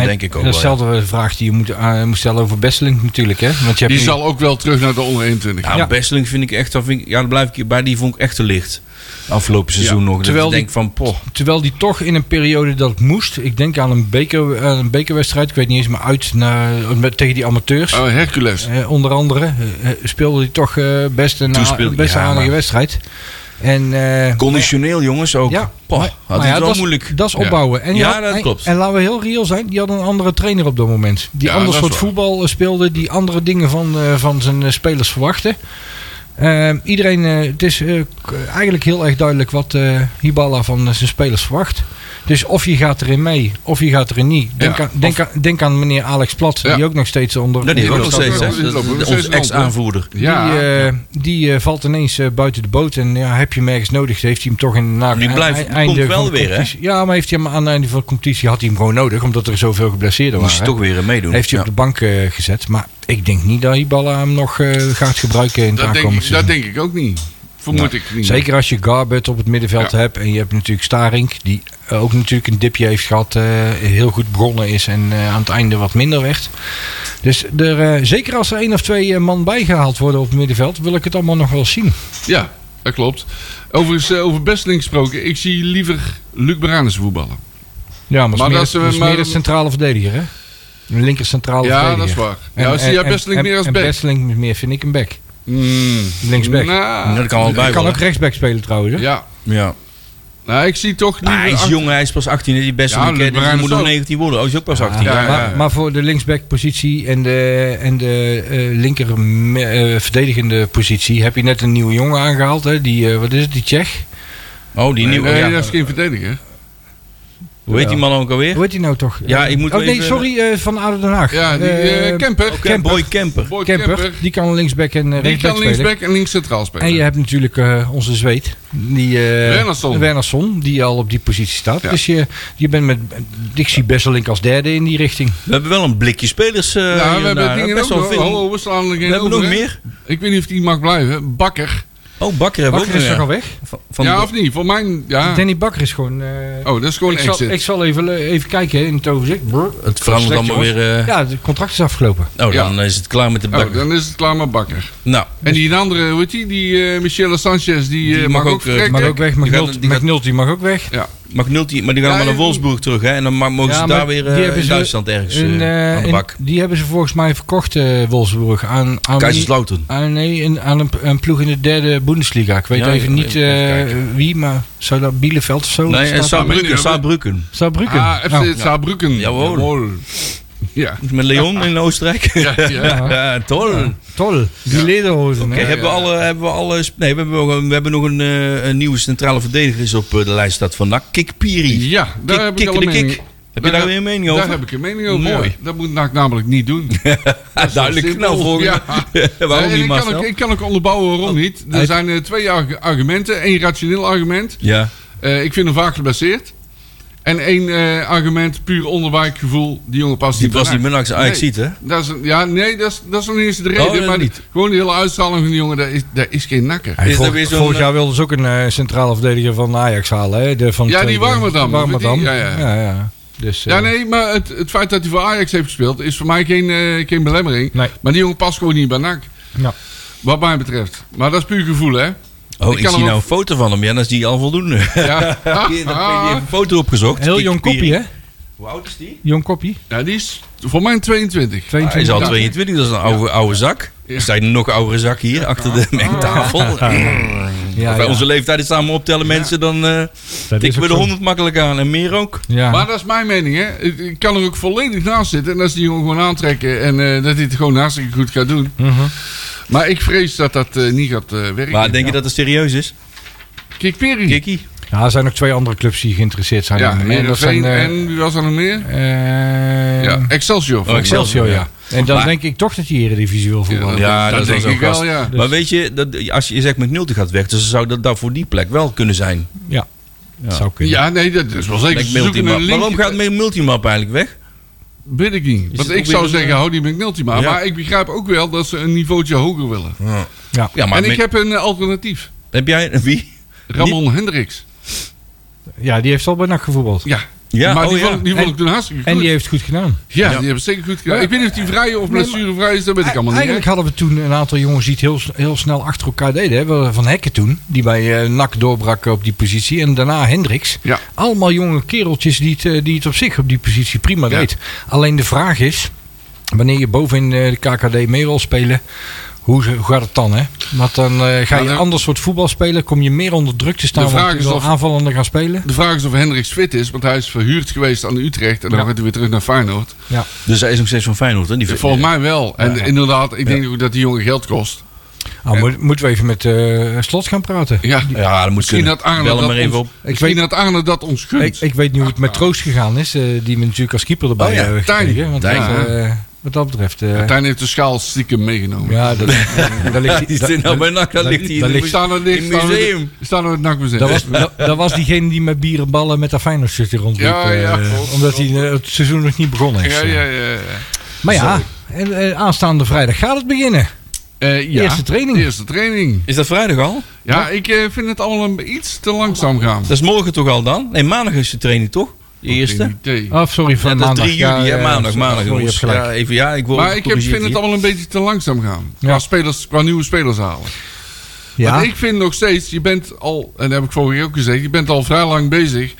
Speaker 3: En
Speaker 2: denk ik ook wel. ja.
Speaker 3: Datzelfde vraag die je moet, aan- moet stellen over Besseling natuurlijk, hè. Want je
Speaker 4: Die
Speaker 3: hebt nu-
Speaker 4: zal ook wel terug naar de onder 21.
Speaker 2: Ja,
Speaker 3: Ja.
Speaker 2: Nou, Besseling vind ik echt, dat vind ik, ja, daar blijf ik hier bij, die vond ik echt te licht. Afgelopen seizoen nog. Terwijl
Speaker 3: terwijl
Speaker 2: ik
Speaker 3: die-
Speaker 2: denk van, poh.
Speaker 3: Terwijl die toch in een periode dat het moest, ik denk aan een, beker, aan een bekerwedstrijd, ik weet niet eens, maar uit naar, met, tegen die amateurs.
Speaker 4: Oh, Hercules.
Speaker 3: Eh, onder andere eh, eh, speelde hij toch eh, best een
Speaker 2: Toen speelde-
Speaker 3: best een
Speaker 2: ja,
Speaker 3: aardige
Speaker 2: maar-
Speaker 3: wedstrijd. En, eh,
Speaker 2: Conditioneel jongens ook.
Speaker 3: Ja.
Speaker 2: Poh,
Speaker 3: maar- maar
Speaker 2: had
Speaker 3: ja,
Speaker 2: het wel
Speaker 3: dat is-
Speaker 2: moeilijk.
Speaker 3: Dat is
Speaker 4: Ja.
Speaker 3: opbouwen. En die
Speaker 2: Ja,
Speaker 3: had-
Speaker 2: dat
Speaker 3: en-
Speaker 2: klopt.
Speaker 3: En laten we heel reëel zijn, die had een andere trainer op dat moment. Die
Speaker 4: Ja,
Speaker 3: ander
Speaker 4: dat is
Speaker 3: soort
Speaker 4: waar.
Speaker 3: voetbal eh, speelde, die andere dingen van, eh, van zijn eh, spelers verwachtte. Eh, iedereen, eh, het is eh, k- eigenlijk heel erg duidelijk wat eh, Hibala van eh, zijn spelers verwacht. Dus of je gaat erin mee, of je gaat erin niet. Denk,
Speaker 4: Ja,
Speaker 3: aan, denk, aan, denk aan meneer Alex Plat,
Speaker 4: Ja.
Speaker 3: die ook nog steeds onder...
Speaker 2: Dat die
Speaker 4: Ja,
Speaker 2: ook nog
Speaker 4: dat
Speaker 2: steeds,
Speaker 4: staat-
Speaker 2: hè?
Speaker 4: dat
Speaker 2: Dat-
Speaker 4: loopt nog steeds
Speaker 2: Onze
Speaker 4: in de hand, hè?
Speaker 2: ex-aanvoerder.
Speaker 4: Ja.
Speaker 3: Die, eh, die eh, valt ineens eh, buiten de boot. En ja, heb je hem ergens nodig, heeft hij hem toch in na e-
Speaker 2: Die blijft- die komt wel
Speaker 3: van de
Speaker 2: weer, hè?
Speaker 3: competitie- Ja, maar heeft hij hem aan het einde van de competitie had hij hem gewoon nodig. Omdat er zoveel geblesseerden
Speaker 2: Moest
Speaker 3: waren.
Speaker 2: je toch weer een meedoen.
Speaker 3: Heeft hij
Speaker 2: Ja.
Speaker 3: op de bank eh, gezet. Maar ik denk niet dat Hibala hem nog eh, gaat gebruiken in het
Speaker 4: Dat denk,
Speaker 3: aankomende
Speaker 4: ik, dat
Speaker 3: seizoen.
Speaker 4: denk ik ook niet. Vermoed ik niet.
Speaker 3: Zeker als je Garbert op het middenveld
Speaker 4: Ja.
Speaker 3: hebt. En je hebt natuurlijk Starink. Die ook natuurlijk een dipje heeft gehad. eh, heel goed begonnen is. En eh, aan het einde wat minder werd. Dus er, eh, zeker als er één of twee eh, man bijgehaald worden op het middenveld. Wil ik het allemaal nog wel zien.
Speaker 4: Ja, dat klopt. Overigens, eh, over Besseling gesproken. Ik zie liever Luc Baranus voetballen.
Speaker 3: Ja, maar,
Speaker 4: Maar
Speaker 3: maar
Speaker 4: dat
Speaker 3: dat
Speaker 4: is,
Speaker 3: is
Speaker 4: eh,
Speaker 3: meer, dat is
Speaker 4: maar-
Speaker 3: meer een centrale verdediger, hè? Een linker centrale
Speaker 4: Ja,
Speaker 3: verdediger.
Speaker 4: dat is waar.
Speaker 3: En-
Speaker 4: ja, zie
Speaker 3: en-
Speaker 4: jij
Speaker 3: en-
Speaker 4: Besseling
Speaker 3: en-
Speaker 4: meer als
Speaker 3: en
Speaker 4: back?
Speaker 3: Besseling meer vind ik een back.
Speaker 4: Mm.
Speaker 3: Linksback.
Speaker 4: Nou,
Speaker 2: Ja, Dat kan wel bij
Speaker 3: Hij kan
Speaker 2: hoor.
Speaker 3: ook rechtsback spelen trouwens. hè?
Speaker 4: Ja.
Speaker 2: Ja.
Speaker 4: Nou, ik zie toch
Speaker 2: Maar
Speaker 4: liever...
Speaker 2: Ah, hij is
Speaker 4: achter-
Speaker 2: jong, hij is pas 18. hè, Die beste
Speaker 4: Ja,
Speaker 2: ja,
Speaker 4: Luc Bruin
Speaker 2: die moet
Speaker 4: is
Speaker 2: nog
Speaker 4: ook.
Speaker 2: 19 worden. Oh, hij is ook pas 18.
Speaker 4: Ja, ja, ja.
Speaker 3: Maar, maar voor de linksback-positie en de, en de eh, linker me- eh, verdedigende positie heb je net een nieuwe jongen aangehaald. Hè? Die, eh, wat is het, die Tsjech?
Speaker 2: Oh, die nieuwe.
Speaker 4: Nee,
Speaker 2: ja.
Speaker 4: dat is geen verdediger.
Speaker 2: Hoe heet die man ook alweer?
Speaker 3: Hoe heet die nou toch?
Speaker 2: Ja, ik moet
Speaker 3: Oh
Speaker 2: wel
Speaker 3: nee,
Speaker 2: even-
Speaker 3: sorry, eh, van Aden Den Haag.
Speaker 4: Ja, die
Speaker 3: Eh,
Speaker 4: eh, Kemper.
Speaker 2: Oké, Boy Kemper.
Speaker 4: Boy Kemper.
Speaker 3: Kemper. Die kan linksback en eh,
Speaker 4: Die
Speaker 3: rechtsback
Speaker 4: kan
Speaker 3: spelen.
Speaker 4: linksback en links centraal spelen.
Speaker 3: En je hebt natuurlijk eh, onze zweet, die, eh
Speaker 4: Wernersson.
Speaker 3: Wernersson, die al op die positie staat.
Speaker 4: Ja.
Speaker 3: Dus je, je bent met Dixie Besselink als derde in die richting.
Speaker 2: We hebben wel een blikje spelers. eh,
Speaker 4: ja, we
Speaker 2: hier en
Speaker 4: hebben
Speaker 2: daar, hè.
Speaker 4: dingen ook
Speaker 2: Best wel
Speaker 4: nog.
Speaker 2: veel.
Speaker 4: Hallo, we slaan er geen
Speaker 2: We hebben
Speaker 4: over,
Speaker 2: nog
Speaker 4: hè?
Speaker 2: meer.
Speaker 4: Ik weet niet of die mag blijven. Bakker.
Speaker 2: Oh, Bakker hebben we
Speaker 3: Bakker
Speaker 2: ook
Speaker 3: is toch al
Speaker 2: nog.
Speaker 3: weg?
Speaker 2: Van- van de-
Speaker 4: ja, of niet? Voor mij... Ja.
Speaker 3: Danny Bakker is gewoon... eh,
Speaker 4: Oh, dat is gewoon
Speaker 3: ik, zal,
Speaker 4: exit.
Speaker 3: ik zal even, eh, even kijken hè, in het overzicht. Brr.
Speaker 2: Het verandert
Speaker 3: Slecht,
Speaker 2: allemaal weer.
Speaker 3: jongens.
Speaker 2: eh,
Speaker 3: Ja, het contract is afgelopen.
Speaker 2: Oh, dan is het klaar met de
Speaker 4: Oh,
Speaker 2: Bakker.
Speaker 4: dan is het klaar met Bakker.
Speaker 2: Nou,
Speaker 4: En die andere, hoe heet die? Die eh Michelle Sanchez, die, eh, mag, ook
Speaker 2: eh,
Speaker 4: vertrekken.
Speaker 3: Mag ook weg,
Speaker 2: die gaat-
Speaker 3: McNulty
Speaker 2: die gaat-
Speaker 3: McNulty mag ook weg.
Speaker 4: Ja,
Speaker 2: die Mag Nulti, maar die gaan
Speaker 4: Ja,
Speaker 2: maar naar
Speaker 4: en-
Speaker 2: Wolfsburg terug, hè? En dan ma- mogen ze
Speaker 3: maar
Speaker 2: daar weer eh,
Speaker 3: die hebben
Speaker 2: in
Speaker 3: ze
Speaker 2: Duitsland ergens
Speaker 3: in,
Speaker 2: eh,
Speaker 3: eh,
Speaker 2: aan de
Speaker 3: in-
Speaker 2: bak.
Speaker 3: die hebben ze volgens mij verkocht, eh, Wolfsburg. Aan, aan wie?
Speaker 2: Kaiserslautern.
Speaker 3: Ah, nee, in, aan een, een ploeg in de derde Bundesliga. Ik weet
Speaker 2: Ja,
Speaker 3: even
Speaker 2: ja,
Speaker 3: niet
Speaker 2: even
Speaker 3: eh,
Speaker 2: kijken.
Speaker 3: wie, maar zou dat Bielefeld of zo?
Speaker 2: Nee, en
Speaker 3: Staat-
Speaker 2: Saarbrücken. Saarbrücken.
Speaker 3: Saarbrücken.
Speaker 4: Ah, FC
Speaker 3: Oh.
Speaker 4: Saarbrücken.
Speaker 2: Jawohl.
Speaker 4: Ja.
Speaker 2: Met Leon in Oostenrijk.
Speaker 4: Ja, ja.
Speaker 2: Ja, tol.
Speaker 3: Tol, die lederhozen. hè?
Speaker 2: Oké, hebben, we alle, hebben we alle... sp- Nee, we hebben, nog een- we hebben nog een, eh, een nieuwe centrale verdediger is op eh, de lijst staat van NAC. Kikpiri.
Speaker 4: Ja, daar heb ik al
Speaker 2: de
Speaker 4: een mening.
Speaker 2: Heb je daar weer een mening over?
Speaker 4: Daar heb ik een mening over.
Speaker 2: Mooi.
Speaker 4: Mooi. Dat moet NAC namelijk niet doen.
Speaker 2: Ah, duidelijk
Speaker 4: Simpel.
Speaker 2: knal volgen.
Speaker 4: Ja. En
Speaker 2: Waarom niet,
Speaker 4: ik, kan
Speaker 2: Marcel? Oh,
Speaker 4: ook, ik kan ook onderbouwen waarom niet. Er
Speaker 2: uit-
Speaker 4: zijn eh, twee arg- argumenten. Eén rationeel argument.
Speaker 2: Ja.
Speaker 4: Eh, ik vind hem vaak geblesseerd. En één eh, argument, puur onderwijkgevoel. Die jongen past
Speaker 2: Die
Speaker 4: niet
Speaker 2: was niet
Speaker 4: bij
Speaker 2: meer langs
Speaker 4: Nee.
Speaker 2: Ajax ziet, hè?
Speaker 4: Dat is, een- ja, nee, dat is, dat is nog niet eens de reden.
Speaker 2: Oh, dat
Speaker 4: maar
Speaker 2: niet.
Speaker 4: gewoon de hele uitstraling van die jongen, dat is, dat is geen nakker.
Speaker 3: Ja,
Speaker 2: Is
Speaker 3: vol-
Speaker 2: er weer zo'n,
Speaker 3: vorig
Speaker 2: eh,
Speaker 3: jaar wilden ze ook een eh, centrale verdediger van Ajax halen. Hè? De, van
Speaker 4: Ja, die
Speaker 3: tweede-
Speaker 4: Warmerdam.
Speaker 3: Warmerdam.
Speaker 4: Die-
Speaker 3: Ja,
Speaker 4: ja, ja.
Speaker 3: ja. Dus,
Speaker 4: Ja,
Speaker 3: eh,
Speaker 4: nee, maar het, het feit dat hij voor Ajax heeft gespeeld is voor mij geen, eh, geen belemmering.
Speaker 3: Nee.
Speaker 4: Maar die jongen past gewoon niet bij NAC.
Speaker 3: Ja.
Speaker 4: Wat mij betreft. Maar dat is puur gevoel, hè?
Speaker 2: Oh, ik,
Speaker 4: kan
Speaker 2: zie
Speaker 4: hem
Speaker 2: nou
Speaker 4: ook-
Speaker 2: een foto van hem. Ja, dan is die al voldoende.
Speaker 4: Ja. Ah.
Speaker 2: Dan heb je een foto opgezocht.
Speaker 3: Heel jong
Speaker 2: Kikpiri.
Speaker 3: kopie, hè?
Speaker 2: Hoe oud is die?
Speaker 3: Jong kopie.
Speaker 4: ja, die is voor mij een Ah, 22.
Speaker 2: Hij is
Speaker 3: 22.
Speaker 2: al 22, dat is een oude, oude zak. Er staat een nog oudere zak hier achter de mengtafel.
Speaker 3: Ja,
Speaker 2: Bij
Speaker 3: ja.
Speaker 2: onze leeftijd is samen optellen mensen, dan eh
Speaker 3: Dat is
Speaker 2: tikken we
Speaker 3: ook
Speaker 2: de
Speaker 3: zo.
Speaker 2: 100 makkelijk aan en meer ook.
Speaker 3: Ja.
Speaker 4: Maar dat is mijn mening, hè? Ik- Ik kan er ook volledig naast zitten. En dat ze die jongen gewoon aantrekken. En eh, dat hij het gewoon hartstikke goed gaat doen.
Speaker 3: Mhm.
Speaker 4: Maar ik vrees dat dat eh, niet gaat eh, werken.
Speaker 2: Maar denk je dat het serieus is?
Speaker 4: Kijk, Peri.
Speaker 2: Kikkie?
Speaker 3: ja, er zijn nog twee andere clubs die geïnteresseerd zijn.
Speaker 4: Ja,
Speaker 3: in hem, hè. dat zijn,
Speaker 4: Heerenveen
Speaker 3: eh,
Speaker 4: en wie was er nog meer?
Speaker 3: eh,
Speaker 4: Ja, Excelsior.
Speaker 2: Oh,
Speaker 3: Excelsior, ja. En dan
Speaker 2: Maar-
Speaker 3: denk ik toch dat die Eredivisie wil voetballen.
Speaker 4: Ja.
Speaker 2: Ja,
Speaker 4: dat
Speaker 2: dat,
Speaker 4: denk
Speaker 2: is ook
Speaker 4: ik wel,
Speaker 2: gast.
Speaker 4: ja.
Speaker 2: Maar weet je, dat, als je zegt met Nulti gaat weg, dus zou dat, dat voor die plek wel kunnen zijn.
Speaker 3: Dat zou kunnen.
Speaker 4: Ja, nee, dat is wel zeker.
Speaker 2: Met
Speaker 4: Ze zoeken
Speaker 2: Multimap.
Speaker 4: een link-
Speaker 2: Waarom gaat met Multimap eigenlijk weg?
Speaker 4: Weet ik niet.
Speaker 2: het
Speaker 4: Want
Speaker 2: ook
Speaker 4: ik
Speaker 2: weer
Speaker 4: zou
Speaker 2: een,
Speaker 4: zeggen, hou die McNulty maar.
Speaker 2: Ja.
Speaker 4: Maar ik begrijp ook wel dat ze een niveautje hoger willen.
Speaker 2: Ja, maar
Speaker 4: en ik
Speaker 2: met-
Speaker 4: heb een eh, alternatief.
Speaker 2: heb jij wie?
Speaker 4: Ramon Hendricks.
Speaker 3: Ja, die heeft al bij NAC gevoetbald.
Speaker 4: Ja.
Speaker 2: Ja,
Speaker 4: maar die
Speaker 2: oh ja.
Speaker 4: vond, die vond ik toen hartstikke goed.
Speaker 3: En die heeft goed gedaan.
Speaker 4: ja,
Speaker 2: Ja.
Speaker 4: die hebben zeker goed gedaan.
Speaker 3: Ja.
Speaker 4: Ik weet niet of die vrij of
Speaker 3: Nee, maar-
Speaker 4: blessurevrij is, dat weet ik allemaal niet.
Speaker 3: Eigenlijk hadden we toen een aantal jongens die het heel, s- heel snel achter elkaar deden. Hè. We hadden Van Hekken toen, die bij eh NAC doorbrak op die positie. En daarna Hendricks.
Speaker 4: Ja.
Speaker 3: Allemaal jonge kereltjes die het, eh, die het op zich op die positie prima
Speaker 4: Ja.
Speaker 3: deed. Alleen de vraag is, wanneer je bovenin eh, de KKD mee wil spelen... Hoe, hoe gaat het dan, hè? Want dan eh, ga
Speaker 4: Ja,
Speaker 3: je
Speaker 4: dan-
Speaker 3: ander soort voetbal spelen. Kom je meer onder druk te staan,
Speaker 4: De vraag
Speaker 3: want je
Speaker 4: is
Speaker 3: wil
Speaker 4: of-
Speaker 3: aanvallender gaan spelen.
Speaker 4: De vraag is of Hendricks fit is, want hij is verhuurd geweest aan Utrecht. En dan
Speaker 3: Ja.
Speaker 4: gaat hij weer terug naar Feyenoord.
Speaker 2: Dus hij is nog steeds van Feyenoord, hè? Die
Speaker 4: Volgens mij wel. En inderdaad, ik denk ook dat die jongen geld kost.
Speaker 3: Nou, moet- moeten we even met eh, Slot gaan praten.
Speaker 4: Ja.
Speaker 2: Ja, dat moet
Speaker 4: Misschien
Speaker 2: kunnen.
Speaker 4: dat Arne
Speaker 2: Bel hem
Speaker 4: dat
Speaker 2: maar even op.
Speaker 4: ons- Misschien
Speaker 3: weet-
Speaker 4: dat Arne dat ons
Speaker 3: Ik,
Speaker 4: gunt.
Speaker 3: ik weet nu hoe het met Troost gegaan is, eh, die we natuurlijk als keeper erbij
Speaker 2: Oh ja,
Speaker 3: hebben
Speaker 4: Tijn.
Speaker 3: gekregen. Want
Speaker 2: Tijn,
Speaker 4: ja.
Speaker 3: dat, eh, wat dat betreft... eh,
Speaker 4: Tijn heeft de schaal stiekem meegenomen.
Speaker 3: ja, dat, eh, daar
Speaker 2: Ja,
Speaker 3: ligt,
Speaker 2: die
Speaker 3: dat,
Speaker 2: zit nou bij NAC, daar
Speaker 3: dat-
Speaker 2: ligt hij
Speaker 3: dat
Speaker 2: in
Speaker 3: ligt-
Speaker 2: het
Speaker 4: Staan er
Speaker 2: museum.
Speaker 4: niks.
Speaker 2: In
Speaker 4: staan we-
Speaker 2: museum.
Speaker 4: Staan we het nakmuseum.
Speaker 3: dat, was, dat, dat was diegene die met bierenballen met dat Feyenoord shirtje rondliep.
Speaker 4: Ja, ja,
Speaker 3: eh,
Speaker 4: klopt,
Speaker 3: omdat hij eh, het seizoen nog niet begonnen is. eh.
Speaker 4: Ja, ja, ja. ja.
Speaker 3: Maar ja, eh, eh, aanstaande vrijdag gaat het beginnen.
Speaker 4: Eh, ja.
Speaker 3: Eerste training.
Speaker 4: Eerste training.
Speaker 2: Is dat vrijdag al?
Speaker 4: Ja, ik eh, vind het allemaal een- iets te langzaam gaan.
Speaker 2: Dat is morgen toch al dan? Nee, maandag is de training toch? De eerste?
Speaker 4: Geen idee.
Speaker 3: Oh, sorry, van
Speaker 2: Ja, dat is
Speaker 3: maandag.
Speaker 2: 3 juli,
Speaker 3: ja,
Speaker 2: hè?
Speaker 3: ja,
Speaker 2: Maandag,
Speaker 3: sorry,
Speaker 2: maandag.
Speaker 3: sorry, je
Speaker 2: jongens.
Speaker 3: hebt gelijk.
Speaker 2: Ja, even, ja, ik wil
Speaker 4: Maar ik heb,
Speaker 2: corrigeer
Speaker 4: vind het
Speaker 2: hier.
Speaker 4: allemaal een beetje te langzaam gaan.
Speaker 3: Ja.
Speaker 4: Qua, spelers, qua nieuwe spelers halen.
Speaker 3: Ja,
Speaker 4: Want ik vind nog steeds, je bent al, en dat heb ik vorige keer ook gezegd, je bent al vrij lang bezig.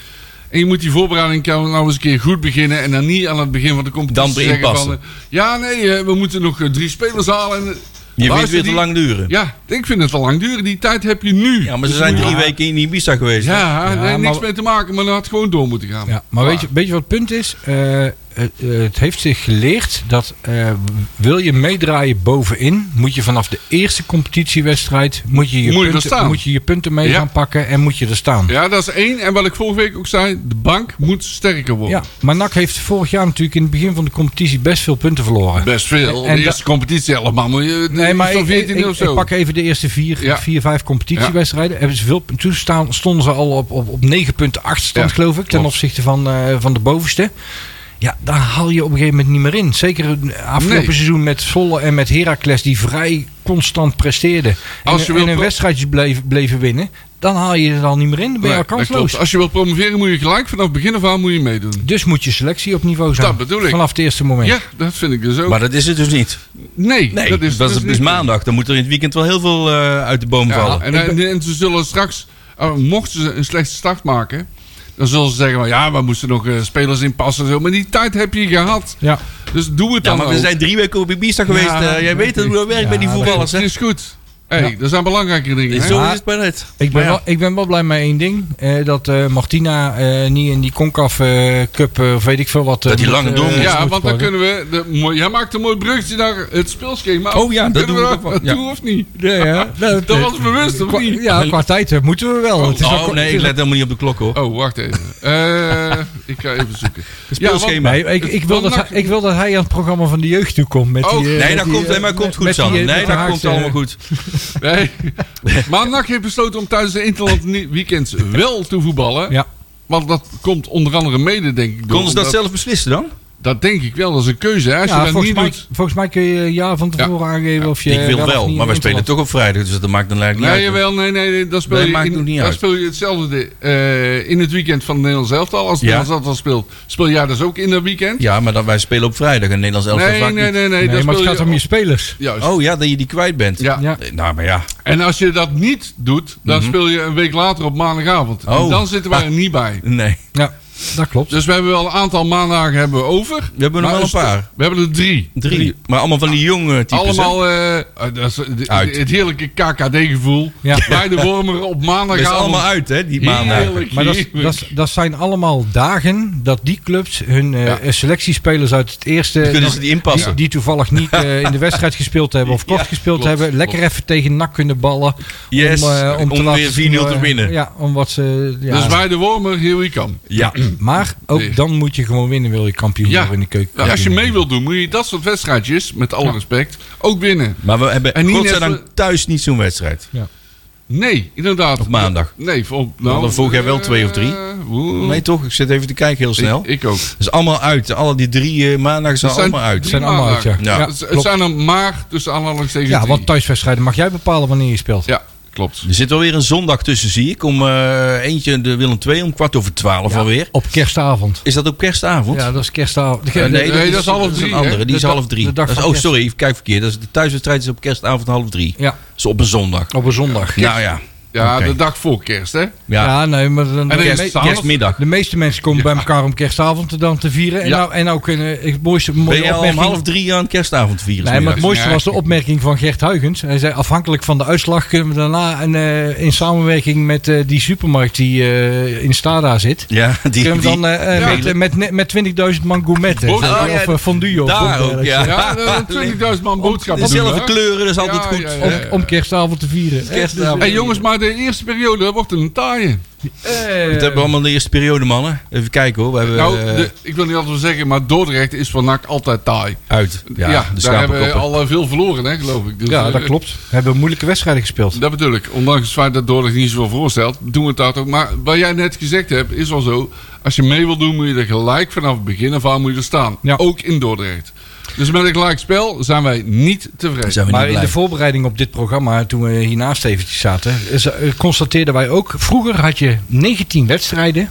Speaker 4: En je moet die voorbereiding kan nou eens een keer goed beginnen. En dan niet aan het begin van de competitie
Speaker 2: Dan erin
Speaker 4: zeggen van...
Speaker 2: passen.
Speaker 4: eh, ja, nee, eh, we moeten nog eh, drie spelers halen. En, eh,
Speaker 2: Je vindt
Speaker 4: luister,
Speaker 2: het weer te
Speaker 4: die-
Speaker 2: lang duren.
Speaker 4: Ja, ik vind het te lang duren. Die tijd heb je nu.
Speaker 2: Ja, maar ze zijn drie
Speaker 4: Ja.
Speaker 2: weken in Ibiza geweest. hè?
Speaker 4: Ja,
Speaker 3: Ja,
Speaker 4: nee, niks
Speaker 3: maar-
Speaker 4: mee te maken, maar dat had gewoon door moeten gaan. Ah.
Speaker 3: ja, maar weet je, weet je wat het punt is? Eh, het, het heeft zich geleerd dat eh, wil je meedraaien bovenin, moet je vanaf de eerste competitiewedstrijd moet je je,
Speaker 4: Moet je er
Speaker 3: punten,
Speaker 4: staan.
Speaker 3: moet je, je punten mee
Speaker 4: Ja.
Speaker 3: gaan pakken en moet je er staan.
Speaker 4: Ja, dat is één. En wat ik vorige week ook zei, de bank moet sterker worden.
Speaker 3: Ja, maar NAC heeft vorig jaar natuurlijk in het begin van de competitie best veel punten verloren.
Speaker 4: Best veel.
Speaker 3: En
Speaker 4: de eerste competitie allemaal. Moet je,
Speaker 3: Nee, maar
Speaker 4: zo'n
Speaker 3: ik,
Speaker 4: 14
Speaker 3: ik-
Speaker 4: of
Speaker 3: ik-
Speaker 4: zo.
Speaker 3: ik pak even de eerste vier,
Speaker 4: Ja.
Speaker 3: vier vijf competitiewedstrijden. Hebben ze veel, toen staan, stonden ze al op, op, op 9,8 stand,
Speaker 4: Ja,
Speaker 3: geloof ik, ten
Speaker 4: klopt.
Speaker 3: opzichte van, eh, van de bovenste. Ja, daar haal je op een gegeven moment niet meer in. Zeker afgelopen
Speaker 4: Nee.
Speaker 3: seizoen met Volle en met Heracles, die vrij constant presteerden. En,
Speaker 4: Als je
Speaker 3: en
Speaker 4: wil
Speaker 3: een
Speaker 4: pro-
Speaker 3: wedstrijdje bleven, bleven winnen. Dan haal je er al niet meer in. Dan ben
Speaker 4: Nee,
Speaker 3: je al
Speaker 4: dat
Speaker 3: kansloos.
Speaker 4: klopt. Als je wilt promoveren, moet je gelijk vanaf begin af aan moet je meedoen.
Speaker 3: Dus moet je selectie op niveau zijn.
Speaker 4: Dat bedoel ik.
Speaker 3: Vanaf het eerste moment.
Speaker 4: Ja, dat vind ik dus ook.
Speaker 2: Maar dat is het dus niet.
Speaker 4: nee,
Speaker 2: Nee,
Speaker 4: dat is
Speaker 2: dus,
Speaker 4: niet-
Speaker 2: maandag. Dan moet er in het weekend wel heel veel eh, uit de boom
Speaker 4: Ja,
Speaker 2: vallen.
Speaker 4: oh, en, en, en ze zullen straks, eh, mochten ze een slechte start maken, Dan zullen ze zeggen, van, ja, we moesten nog eh, spelers inpassen. en Zo. Maar die tijd heb je gehad.
Speaker 3: Ja.
Speaker 4: Dus doe het
Speaker 2: Ja,
Speaker 4: dan
Speaker 2: maar we
Speaker 4: ook.
Speaker 2: zijn drie weken op Ibiza geweest.
Speaker 4: Ja,
Speaker 2: eh, jij weet het, hoe dat werkt bij die
Speaker 3: Ja,
Speaker 2: voetballers.
Speaker 4: Het
Speaker 2: Hè?
Speaker 4: is goed. hey, er zijn belangrijke dingen. hè?
Speaker 2: Zo
Speaker 3: Maar-
Speaker 2: is het maar net.
Speaker 3: Ik ben,
Speaker 2: Maar
Speaker 3: wel,
Speaker 2: ja.
Speaker 3: ik ben wel blij met één ding. eh, dat eh, Martina eh, niet in die Concaf eh, Cup, eh, of weet ik veel wat... eh,
Speaker 2: Dat die
Speaker 3: moet,
Speaker 2: lange
Speaker 3: eh,
Speaker 2: door moet.
Speaker 4: Ja,
Speaker 3: moet
Speaker 4: want dan
Speaker 3: worden.
Speaker 4: kunnen we... De, mooi- jij maakt een mooi bruggetje naar het speelschema.
Speaker 2: Oh ja, dat
Speaker 4: Kunnen
Speaker 2: doen
Speaker 4: we
Speaker 2: we
Speaker 4: dat
Speaker 2: ook wel, ja.
Speaker 4: doen of niet?
Speaker 3: Ja, ja.
Speaker 4: Dat was bewust, of
Speaker 3: Qua-
Speaker 4: niet?
Speaker 3: Ja, qua tijd eh, moeten we wel. Het is wel-
Speaker 2: Oh nee, ik let helemaal niet op de klok hoor.
Speaker 4: Oh, wacht even. Eh, ik ga even zoeken.
Speaker 2: speelschema.
Speaker 4: Ja, want-
Speaker 3: Nee, ik, ik, wil dat hij, ik wil dat hij aan het programma van de jeugd toe komt. Met
Speaker 4: Oh,
Speaker 3: die, eh,
Speaker 2: Nee,
Speaker 3: met
Speaker 2: dat
Speaker 3: die,
Speaker 2: komt,
Speaker 3: eh,
Speaker 2: nee, maar komt goed,
Speaker 3: met die,
Speaker 2: Sam.
Speaker 3: eh, met
Speaker 2: Nee,
Speaker 3: de
Speaker 2: dat
Speaker 3: haakse-
Speaker 2: komt allemaal goed.
Speaker 4: oh,
Speaker 3: eh,
Speaker 4: nee. Maar NAC heeft besloten om tijdens de Interland nie- weekends wel te voetballen.
Speaker 3: Ja.
Speaker 4: Want dat komt onder andere mede, denk ik. door,
Speaker 2: Konden ze dat
Speaker 4: omdat-
Speaker 2: zelf beslissen dan?
Speaker 4: Dat denk ik wel, dat is een keuze. hè. Als
Speaker 3: Ja,
Speaker 4: je dat
Speaker 3: volgens,
Speaker 4: niet
Speaker 3: mij,
Speaker 4: doet...
Speaker 3: volgens mij kun je een jaar van tevoren aangeven of je...
Speaker 2: ik wil
Speaker 3: of
Speaker 2: wel,
Speaker 3: niet
Speaker 2: maar we
Speaker 3: in
Speaker 2: spelen
Speaker 3: het
Speaker 2: toch op vrijdag, dus dat maakt dan eigenlijk
Speaker 4: Nee,
Speaker 2: niet uit.
Speaker 4: Nou, jawel, nee, nee, nee, dan speel,
Speaker 2: Nee,
Speaker 4: je,
Speaker 2: maakt
Speaker 4: in,
Speaker 2: het niet
Speaker 4: dan
Speaker 2: uit.
Speaker 4: speel je hetzelfde de- eh, in het weekend van het Nederlands elftal. Als het
Speaker 2: Ja.
Speaker 4: Nederlands elftal speelt, speel jij dus ook in dat weekend?
Speaker 2: Ja, maar dan, wij spelen op vrijdag en Nederlands elftal
Speaker 4: nee,
Speaker 2: vaak
Speaker 4: nee,
Speaker 2: niet.
Speaker 4: nee, nee,
Speaker 3: land.
Speaker 4: dan
Speaker 3: Nee, maar het
Speaker 4: speel
Speaker 3: gaat om je spelers.
Speaker 4: Juist.
Speaker 2: Oh ja, dat je die kwijt bent.
Speaker 4: Ja.
Speaker 3: Ja.
Speaker 2: Eh, Nou, maar ja.
Speaker 4: En als je dat niet doet, dan speel je een week later op maandagavond. En
Speaker 2: Mhm. Oh.
Speaker 4: dan zitten wij er niet bij.
Speaker 2: Nee.
Speaker 3: Ja, dat klopt.
Speaker 4: Dus we hebben wel een aantal maandagen hebben we over.
Speaker 2: We hebben er
Speaker 4: Maar
Speaker 2: wel een paar.
Speaker 4: We hebben er drie.
Speaker 2: Drie. Maar allemaal van die jonge types. hè?
Speaker 4: Allemaal eh, eh, dat is, eh,
Speaker 2: Uit.
Speaker 4: het heerlijke KKD-gevoel.
Speaker 3: Ja.
Speaker 4: Bij de Wormer op
Speaker 2: Dat is
Speaker 4: maandagavond.
Speaker 2: allemaal uit, hè, die maandag.
Speaker 4: Heerlijk,
Speaker 3: Maar dat,
Speaker 4: heerlijk.
Speaker 3: dat, dat zijn allemaal dagen dat die clubs hun eh,
Speaker 4: Ja.
Speaker 3: selectiespelers uit het eerste...
Speaker 2: Kunnen ze die inpassen?
Speaker 3: die, die toevallig niet eh, in de wedstrijd gespeeld hebben of kort
Speaker 2: Ja,
Speaker 3: gespeeld
Speaker 4: klopt,
Speaker 3: hebben. Lekker even tegen NAC kunnen ballen.
Speaker 2: Yes,
Speaker 3: eh,
Speaker 2: om
Speaker 3: laten
Speaker 2: weer
Speaker 3: zien,
Speaker 2: 4-0 te
Speaker 3: eh,
Speaker 2: winnen.
Speaker 3: Ja, om wat ze... Ja.
Speaker 4: Dus bij de Wormer, here we come.
Speaker 2: Ja.
Speaker 3: Maar ook
Speaker 4: Nee.
Speaker 3: dan moet je gewoon winnen, wil je kampioen
Speaker 4: Ja.
Speaker 3: worden in de keuken.
Speaker 4: Ja, als je mee wilt doen, moet je dat soort wedstrijdjes, met alle respect, ook winnen.
Speaker 2: Maar we hebben
Speaker 4: En niet
Speaker 2: godzijdank
Speaker 4: even-
Speaker 2: thuis niet zo'n wedstrijd.
Speaker 4: Nee, inderdaad.
Speaker 2: Op maandag.
Speaker 4: Nee, vol, nou,
Speaker 2: We hadden vorig jaar wel twee of drie.
Speaker 4: eh, woe.
Speaker 2: Nee, toch? Ik zit even te kijken heel snel.
Speaker 4: Ik, ik ook.
Speaker 2: Dat is allemaal uit. Alle die drie eh maandagen zijn,
Speaker 4: Het zijn
Speaker 2: allemaal uit.
Speaker 4: drie
Speaker 3: zijn allemaal uit, ja.
Speaker 2: Ja.
Speaker 3: Ja,
Speaker 4: het, het
Speaker 3: klopt.
Speaker 4: zijn er maar tussen aanhalingstekens
Speaker 3: Ja,
Speaker 4: drie.
Speaker 3: want thuiswedstrijden mag jij bepalen wanneer je speelt.
Speaker 4: Ja, klopt.
Speaker 2: Er zit wel weer een zondag tussen, zie ik. Om eh, eentje de Willem 2 om kwart over twaalf alweer.
Speaker 3: Op kerstavond.
Speaker 2: Is dat op kerstavond?
Speaker 3: Ja, dat is kerstavond.
Speaker 2: Eh,
Speaker 4: nee, dat is half drie,
Speaker 2: een
Speaker 4: hè?
Speaker 2: andere. Die
Speaker 3: De
Speaker 2: is
Speaker 3: dag-
Speaker 2: half drie.
Speaker 3: de dag
Speaker 2: Dat is-
Speaker 3: van
Speaker 2: oh,
Speaker 3: kerst.
Speaker 2: sorry. Even kijk verkeerd. Dat is de thuiswedstrijd is op kerstavond half drie.
Speaker 3: Ja,
Speaker 2: Dat is op een zondag.
Speaker 3: op een zondag.
Speaker 2: Nou ja.
Speaker 4: Ja,
Speaker 2: Oké.
Speaker 4: de dag voor kerst, hè?
Speaker 2: Ja.
Speaker 3: Ja, nee, maar dan,
Speaker 4: En
Speaker 3: de,
Speaker 4: dan
Speaker 2: Kerst-
Speaker 4: is het avond.
Speaker 2: kerstmiddag.
Speaker 3: de meeste mensen komen bij elkaar om kerstavond dan te vieren. En,
Speaker 4: Ja.
Speaker 3: nou, en nou kunnen... Ik, het mooiste, mooie
Speaker 2: Ben je al om
Speaker 3: opmerking-
Speaker 2: half drie aan kerstavond vieren?
Speaker 3: Nee, maar het
Speaker 2: smiddags?
Speaker 3: mooiste
Speaker 4: Ja.
Speaker 3: was de opmerking van Gert Huygens. Hij zei, afhankelijk van de uitslag kunnen we daarna een, eh, in samenwerking met eh, die supermarkt die eh, in Stada zit...
Speaker 2: Ja, die,
Speaker 3: Kunnen we dan
Speaker 2: die-
Speaker 3: eh,
Speaker 4: Ja.
Speaker 3: met, eh, met, ne- met 20.000 man gourmetten
Speaker 4: Oh,
Speaker 3: of
Speaker 2: ja,
Speaker 3: eh, fondue of
Speaker 2: daar
Speaker 3: of, eh,
Speaker 2: ook, ja.
Speaker 4: Ja, dat is 20.000 man boodschappen. doen,
Speaker 2: Dezelfde
Speaker 4: hè?
Speaker 2: kleuren, dat is altijd
Speaker 4: Ja,
Speaker 2: goed.
Speaker 4: ja, ja.
Speaker 3: Om, om kerstavond te vieren.
Speaker 2: Kerstavond.
Speaker 4: Hey, jongens, maar de eerste periode dat wordt een taaie.
Speaker 3: Eh,
Speaker 2: Dat hebben we allemaal in de eerste periode, mannen. Even kijken hoor. We hebben
Speaker 4: nou,
Speaker 2: eh,
Speaker 4: de- ik wil niet altijd zeggen, maar Dordrecht is van NAC altijd taai.
Speaker 2: uit.
Speaker 4: Ja,
Speaker 2: Ja, de
Speaker 4: daar hebben we
Speaker 2: schapenkoppen.
Speaker 4: al eh, veel verloren, hè, geloof ik. Dus,
Speaker 3: ja, dat
Speaker 4: eh,
Speaker 3: klopt. We hebben moeilijke wedstrijden gespeeld.
Speaker 4: Dat bedoel ik. Ondanks het feit dat Dordrecht niet zoveel voorstelt, doen we het daar ook. Maar wat jij net gezegd hebt, is wel zo. Als je mee wil doen, moet je er gelijk vanaf het begin af aan moet je er staan.
Speaker 3: Ja.
Speaker 4: Ook in Dordrecht. Dus met een gelijk spel zijn wij niet tevreden.
Speaker 2: Zijn we niet
Speaker 3: Maar in
Speaker 2: blij.
Speaker 3: de voorbereiding op dit programma, toen we hiernaast eventjes zaten, is- eh, constateerden wij ook, vroeger had je 19 wedstrijden.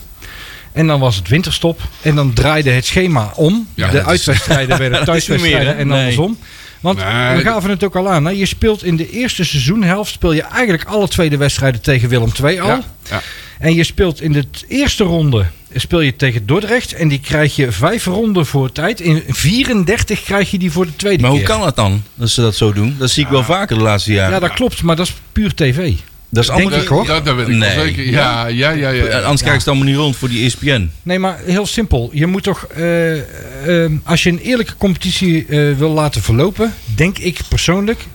Speaker 3: En dan was het winterstop. En dan draaide het schema om.
Speaker 4: Ja, dat
Speaker 3: de
Speaker 4: is-
Speaker 3: uitwedstrijden werden
Speaker 2: Dat is niet meer, hè?
Speaker 3: thuiswedstrijden en
Speaker 2: Nee.
Speaker 3: andersom. Want
Speaker 4: Nee,
Speaker 3: we
Speaker 4: dat-
Speaker 3: gaven het ook al aan. Hè? Je speelt in de eerste seizoenhelft speel je eigenlijk alle tweede wedstrijden tegen Willem II al.
Speaker 4: Ja, ja.
Speaker 3: En je speelt in de t- eerste ronde speel je tegen Dordrecht. En die krijg je vijf ronden voor tijd. In 34 krijg je die voor de tweede
Speaker 2: Maar hoe
Speaker 3: keer.
Speaker 2: kan dat dan, dat ze dat zo doen? Dat zie ik wel vaker de laatste jaren.
Speaker 3: Ja, dat klopt, maar dat is puur tv.
Speaker 2: dat is allemaal
Speaker 3: denk
Speaker 2: niet-
Speaker 3: ik, hoor.
Speaker 4: Dat, dat weet ik
Speaker 2: Nee.
Speaker 4: wel zeker. Ja, ja, ja. ja,
Speaker 2: Eh,
Speaker 4: ja.
Speaker 2: Anders krijg ik het allemaal niet rond voor die E ESPN.
Speaker 3: Nee, maar heel simpel. Je moet toch, eh, eh, als je een eerlijke competitie eh, wil laten verlopen, denk ik persoonlijk.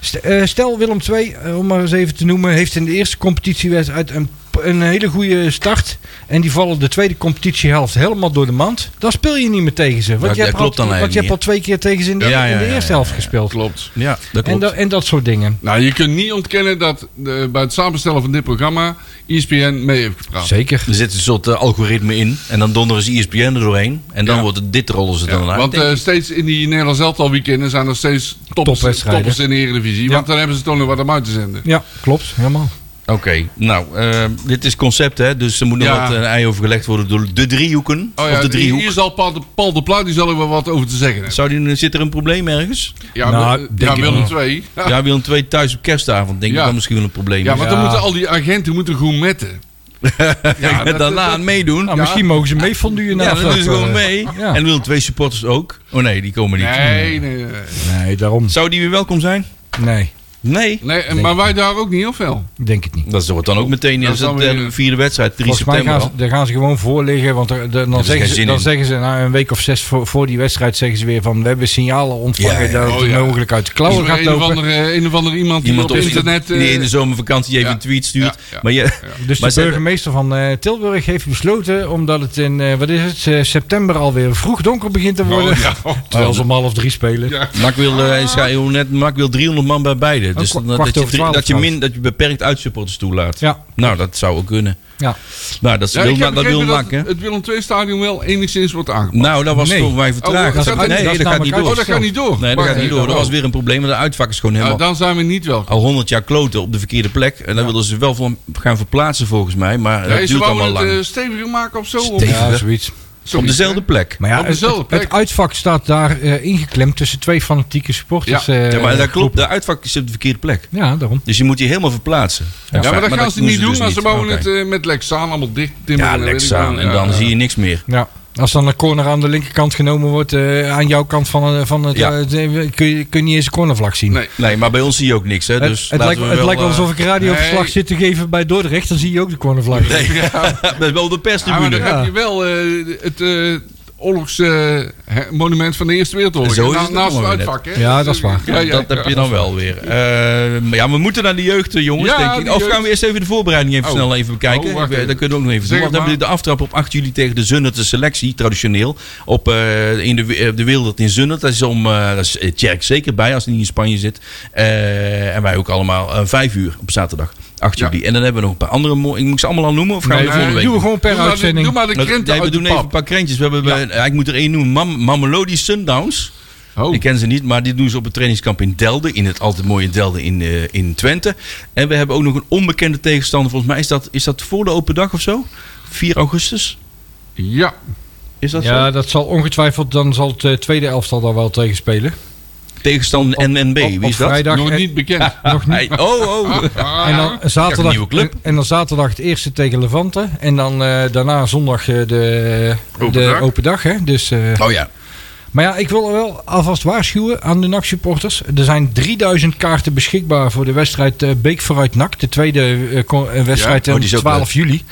Speaker 3: St- eh, stel Willem II, eh, om maar eens even te noemen, heeft in de eerste competitiewedstrijd een, een hele goede start. En die vallen de tweede competitiehelft helemaal door de mand. Dan speel je niet meer tegen ze. Want
Speaker 2: dat
Speaker 3: je hebt,
Speaker 2: klopt
Speaker 3: al,
Speaker 2: dan
Speaker 3: want je
Speaker 2: eigenlijk
Speaker 3: hebt al twee keer tegen ze in de,
Speaker 2: Ja, ja,
Speaker 3: in de
Speaker 2: ja,
Speaker 3: eerste
Speaker 2: ja,
Speaker 3: helft
Speaker 2: ja.
Speaker 3: gespeeld.
Speaker 4: Klopt.
Speaker 2: Ja, dat
Speaker 3: En, da- en dat soort dingen.
Speaker 4: Nou, je kunt niet ontkennen dat eh, bij het samenstellen van dit programma E ESPN mee heeft gepraat.
Speaker 3: Zeker.
Speaker 2: er zit een soort eh, algoritme in. En dan donderen ze E ESPN er doorheen. En dan
Speaker 4: Ja.
Speaker 2: wordt het dit rollen ze
Speaker 4: Ja,
Speaker 2: dan uit.
Speaker 4: want
Speaker 2: denk
Speaker 4: eh,
Speaker 2: ik.
Speaker 4: steeds in die Nederlands elftal weekenden zijn er steeds toppers,
Speaker 3: Topwedstrijden.
Speaker 4: toppers in de Eredivisie.
Speaker 3: Ja.
Speaker 4: Want dan hebben ze toch nog wat om uit te zenden.
Speaker 3: Ja, klopt. Helemaal.
Speaker 2: Oké, nou, eh, dit is concept hè. Dus er moet nog
Speaker 4: Ja.
Speaker 2: wat een ei over gelegd worden door de driehoeken.
Speaker 4: Oh
Speaker 2: of
Speaker 4: ja,
Speaker 2: de driehoek.
Speaker 4: hier zal Paul de, Paul de Plaat, die zal er wel wat over te zeggen hebben.
Speaker 2: Zou die, zit er een probleem ergens?
Speaker 4: Ja,
Speaker 3: Nou,
Speaker 4: Wil-
Speaker 3: denk
Speaker 4: ja
Speaker 3: ik
Speaker 4: Willem
Speaker 3: wel.
Speaker 4: twee. Ja,
Speaker 2: Ja, Willem 2 thuis op kerstavond. Denk
Speaker 4: Ja.
Speaker 2: ik dan misschien wel een probleem.
Speaker 4: ja, want dan
Speaker 3: Ja.
Speaker 4: moeten al die agenten moeten gourmetten. Ja,
Speaker 2: en
Speaker 4: dat-
Speaker 2: daarna
Speaker 4: dat-
Speaker 2: aan meedoen.
Speaker 3: Nou,
Speaker 2: ja,
Speaker 3: Misschien mogen ze mee fonduren na
Speaker 2: dan doen ze
Speaker 3: afloop,
Speaker 2: gewoon
Speaker 3: eh.
Speaker 2: mee.
Speaker 3: Ja.
Speaker 2: En Willem twee supporters ook. Oh nee, die komen niet.
Speaker 4: Nee, nee, nee.
Speaker 3: Nee, daarom.
Speaker 2: Zou die weer welkom zijn?
Speaker 3: Nee,
Speaker 2: Nee.
Speaker 4: nee en- maar wij daar ook niet, of wel?
Speaker 3: ik denk het niet.
Speaker 2: Dat wordt dan ook meteen
Speaker 4: Dat
Speaker 2: in
Speaker 4: is dan
Speaker 2: de
Speaker 4: weer-
Speaker 2: derde, vierde wedstrijd, 3
Speaker 3: Volgens mij
Speaker 2: september.
Speaker 3: gaan ze,
Speaker 2: al.
Speaker 3: daar gaan ze gewoon voor liggen. Want er, de- dan,
Speaker 2: is
Speaker 3: zeggen
Speaker 2: geen
Speaker 3: ze,
Speaker 2: zin
Speaker 3: dan
Speaker 2: in.
Speaker 3: zeggen ze na een week of zes voor, voor die wedstrijd zeggen ze weer van we hebben signalen ontvangen
Speaker 2: Ja, ja.
Speaker 3: dat het
Speaker 4: Oh, ja.
Speaker 3: mogelijk uit de
Speaker 4: Is
Speaker 3: klauwen
Speaker 4: er
Speaker 3: gaat
Speaker 4: een, of
Speaker 3: lopen.
Speaker 4: andere, eh, een of andere iemand die
Speaker 2: Iemand
Speaker 4: op
Speaker 2: op
Speaker 4: internet...
Speaker 2: die
Speaker 4: eh,
Speaker 2: in de zomervakantie even
Speaker 4: ja.
Speaker 2: een tweet stuurt.
Speaker 4: Ja, ja.
Speaker 2: Maar je,
Speaker 3: Dus
Speaker 2: Maar ze
Speaker 3: de
Speaker 2: hebben-
Speaker 3: burgemeester van eh, Tilburg heeft besloten, omdat het in eh, wat is het, eh, september alweer vroeg donker begint te worden.
Speaker 4: Oh, ja.
Speaker 3: Terwijl ze om half drie spelen.
Speaker 4: Ja.
Speaker 2: Mak wil, eh, is- hij hoe net, Mak wil 300 man bij beide. Dus
Speaker 3: Ah. kwa-
Speaker 2: dat-
Speaker 3: kwart
Speaker 2: dat, je,
Speaker 3: over
Speaker 2: drie-
Speaker 3: twaalf
Speaker 2: dat, je
Speaker 3: trouwens.
Speaker 2: min, dat je beperkt uitsupporters toelaat.
Speaker 3: Ja.
Speaker 2: Nou, dat zou ook kunnen.
Speaker 3: Ja.
Speaker 2: Nou, dat
Speaker 4: Ja,
Speaker 2: wil,
Speaker 4: ik heb
Speaker 2: Ma- dat wil
Speaker 4: begrepen
Speaker 2: Mak, hè?
Speaker 4: het Willem II stadion wel enigszins wordt aangepakt.
Speaker 2: Nou, dat was
Speaker 3: Nee.
Speaker 2: toch wij
Speaker 4: Oh,
Speaker 2: vertraagd.
Speaker 4: dat gaat- dat
Speaker 2: nee,
Speaker 4: is
Speaker 2: dat, gaat
Speaker 3: namelijk
Speaker 2: niet
Speaker 3: uit-
Speaker 2: door.
Speaker 4: oh, dat gaat niet door.
Speaker 2: Nee, dat
Speaker 4: Maar-
Speaker 2: gaat niet door. Dat was weer een probleem. want De uitvakkers gewoon
Speaker 4: Nou,
Speaker 2: helemaal
Speaker 4: dan zijn we niet wel.
Speaker 2: al 100 jaar kloten op de verkeerde plek. En daar wilden ze wel van gaan verplaatsen volgens mij. Maar
Speaker 4: Ja,
Speaker 2: dat
Speaker 4: ze
Speaker 2: duurt
Speaker 4: wouden
Speaker 2: allemaal
Speaker 4: het
Speaker 2: lang.
Speaker 4: eh, steviger maken of zo. Of-
Speaker 2: Stevig.
Speaker 3: Ja, zoiets.
Speaker 4: Zoiets,
Speaker 2: op dezelfde plek.
Speaker 3: Maar ja,
Speaker 4: Op
Speaker 3: het,
Speaker 4: dezelfde
Speaker 3: het-
Speaker 4: plek.
Speaker 3: het uitvak staat daar eh, ingeklemd tussen twee fanatieke supporters.
Speaker 4: Ja.
Speaker 3: eh,
Speaker 2: Ja, maar dat klopt.
Speaker 3: groepen.
Speaker 2: De uitvak is op de verkeerde plek.
Speaker 3: Ja, daarom.
Speaker 2: Dus je moet die helemaal verplaatsen.
Speaker 4: Ja, maar dat gaan ze niet
Speaker 2: doen
Speaker 4: doen,
Speaker 2: dus
Speaker 4: maar ze
Speaker 2: niet.
Speaker 4: bouwen
Speaker 2: Oké.
Speaker 4: het eh, met Lexaan allemaal dicht. timmeren
Speaker 2: Ja,
Speaker 4: en weet ik
Speaker 2: leks aan.
Speaker 4: wat.
Speaker 2: En
Speaker 4: Ja,
Speaker 2: dan
Speaker 4: ja.
Speaker 2: zie je niks meer.
Speaker 3: Ja. Als dan een corner aan de linkerkant genomen wordt, eh, aan jouw kant van, eh, van het,
Speaker 2: Ja.
Speaker 3: eh, de- kun, je, kun je niet eens een cornervlag zien.
Speaker 4: Nee.
Speaker 2: Nee, maar bij ons zie je ook niks. Hè?
Speaker 3: Het,
Speaker 2: Dus
Speaker 3: het
Speaker 2: laten
Speaker 3: lijkt,
Speaker 2: we
Speaker 3: het
Speaker 2: wel,
Speaker 3: lijkt wel
Speaker 2: eh,
Speaker 3: alsof ik radioverslag
Speaker 4: nee.
Speaker 3: zit te geven bij Dordrecht, dan zie je ook de cornervlag.
Speaker 2: dat is wel de
Speaker 4: Ja, maar
Speaker 2: perstribune.
Speaker 4: dan heb je wel eh, het oorlogsmonument van de Eerste Wereldoorlog.
Speaker 2: Zo is
Speaker 4: Na-
Speaker 2: het
Speaker 4: naast
Speaker 2: ook
Speaker 4: het
Speaker 2: maar weer
Speaker 4: uitvak, hè?
Speaker 3: Ja, dat is waar.
Speaker 4: Ja, ja,
Speaker 2: dat heb
Speaker 4: ja.
Speaker 2: je dan wel weer. Eh, maar ja, we moeten naar de jeugd, eh, jongens.
Speaker 4: Ja,
Speaker 2: denk
Speaker 4: die
Speaker 2: ik. Of
Speaker 4: jeugd.
Speaker 2: gaan we eerst even de voorbereiding even
Speaker 4: Oh.
Speaker 2: snel even bekijken?
Speaker 4: Oh, wacht
Speaker 2: Ik, eh,
Speaker 4: even.
Speaker 2: dat kunnen we ook nog even
Speaker 4: Zeg
Speaker 2: doen. Want dan
Speaker 4: maar.
Speaker 2: hebben we de aftrap op 8 juli tegen de Zunnert, de selectie, traditioneel. Op, eh, in de, eh, de wereld in Zunnert. Dat is om, eh daar is eh, Tjerk zeker bij als hij niet in Spanje zit. Eh, en wij ook allemaal eh, 5 uur op zaterdag, 8
Speaker 4: Ja. eh,
Speaker 2: juli. En dan hebben we nog een paar andere... mo- Ik moet ze allemaal al noemen of gaan
Speaker 3: Nee,
Speaker 2: we de volgende week
Speaker 3: doen we
Speaker 2: doen?
Speaker 3: gewoon per
Speaker 4: Doe maar de-
Speaker 3: uitzending.
Speaker 4: Doe maar de
Speaker 2: Nee,
Speaker 4: krenten
Speaker 2: we
Speaker 4: uit de
Speaker 2: doen even een
Speaker 4: pap.
Speaker 2: paar krentjes. We hebben, eh, ik moet er één noemen. Mam, Mamelody Sundowns.
Speaker 4: Oh.
Speaker 2: Ik ken ze niet, maar die doen ze op het trainingskamp in Delden. In het altijd mooie Delden in, eh, in Twente. En we hebben ook nog een onbekende tegenstander. Volgens mij is dat, is dat voor de open dag of zo? 4 augustus?
Speaker 4: Ja,
Speaker 2: Is dat
Speaker 3: Ja,
Speaker 2: zo?
Speaker 3: dat zal ongetwijfeld, dan zal het eh, tweede elftal daar wel tegen spelen.
Speaker 2: Tegenstander NNB.
Speaker 3: Op-
Speaker 2: Wie
Speaker 3: op
Speaker 2: is dat?
Speaker 3: vrijdag
Speaker 4: nog
Speaker 3: eh, en-
Speaker 4: niet bekend. Ah,
Speaker 3: nog niet.
Speaker 2: Hey, oh, oh.
Speaker 3: En dan, zaterdag,
Speaker 2: nieuwe club.
Speaker 3: en dan zaterdag het eerste tegen Levante. En dan eh, daarna zondag eh, de,
Speaker 4: Open
Speaker 3: de
Speaker 4: dag.
Speaker 3: open dag. Hè? Dus, eh,
Speaker 2: Oh ja.
Speaker 3: maar ja, ik wil wel alvast waarschuwen aan de NAC-supporters. Er zijn 3000 kaarten beschikbaar voor de wedstrijd eh, Beek vooruit NAC. De tweede eh, ko- eh, wedstrijd
Speaker 2: Ja, oh,
Speaker 3: op
Speaker 2: die is ook
Speaker 3: 12 juli.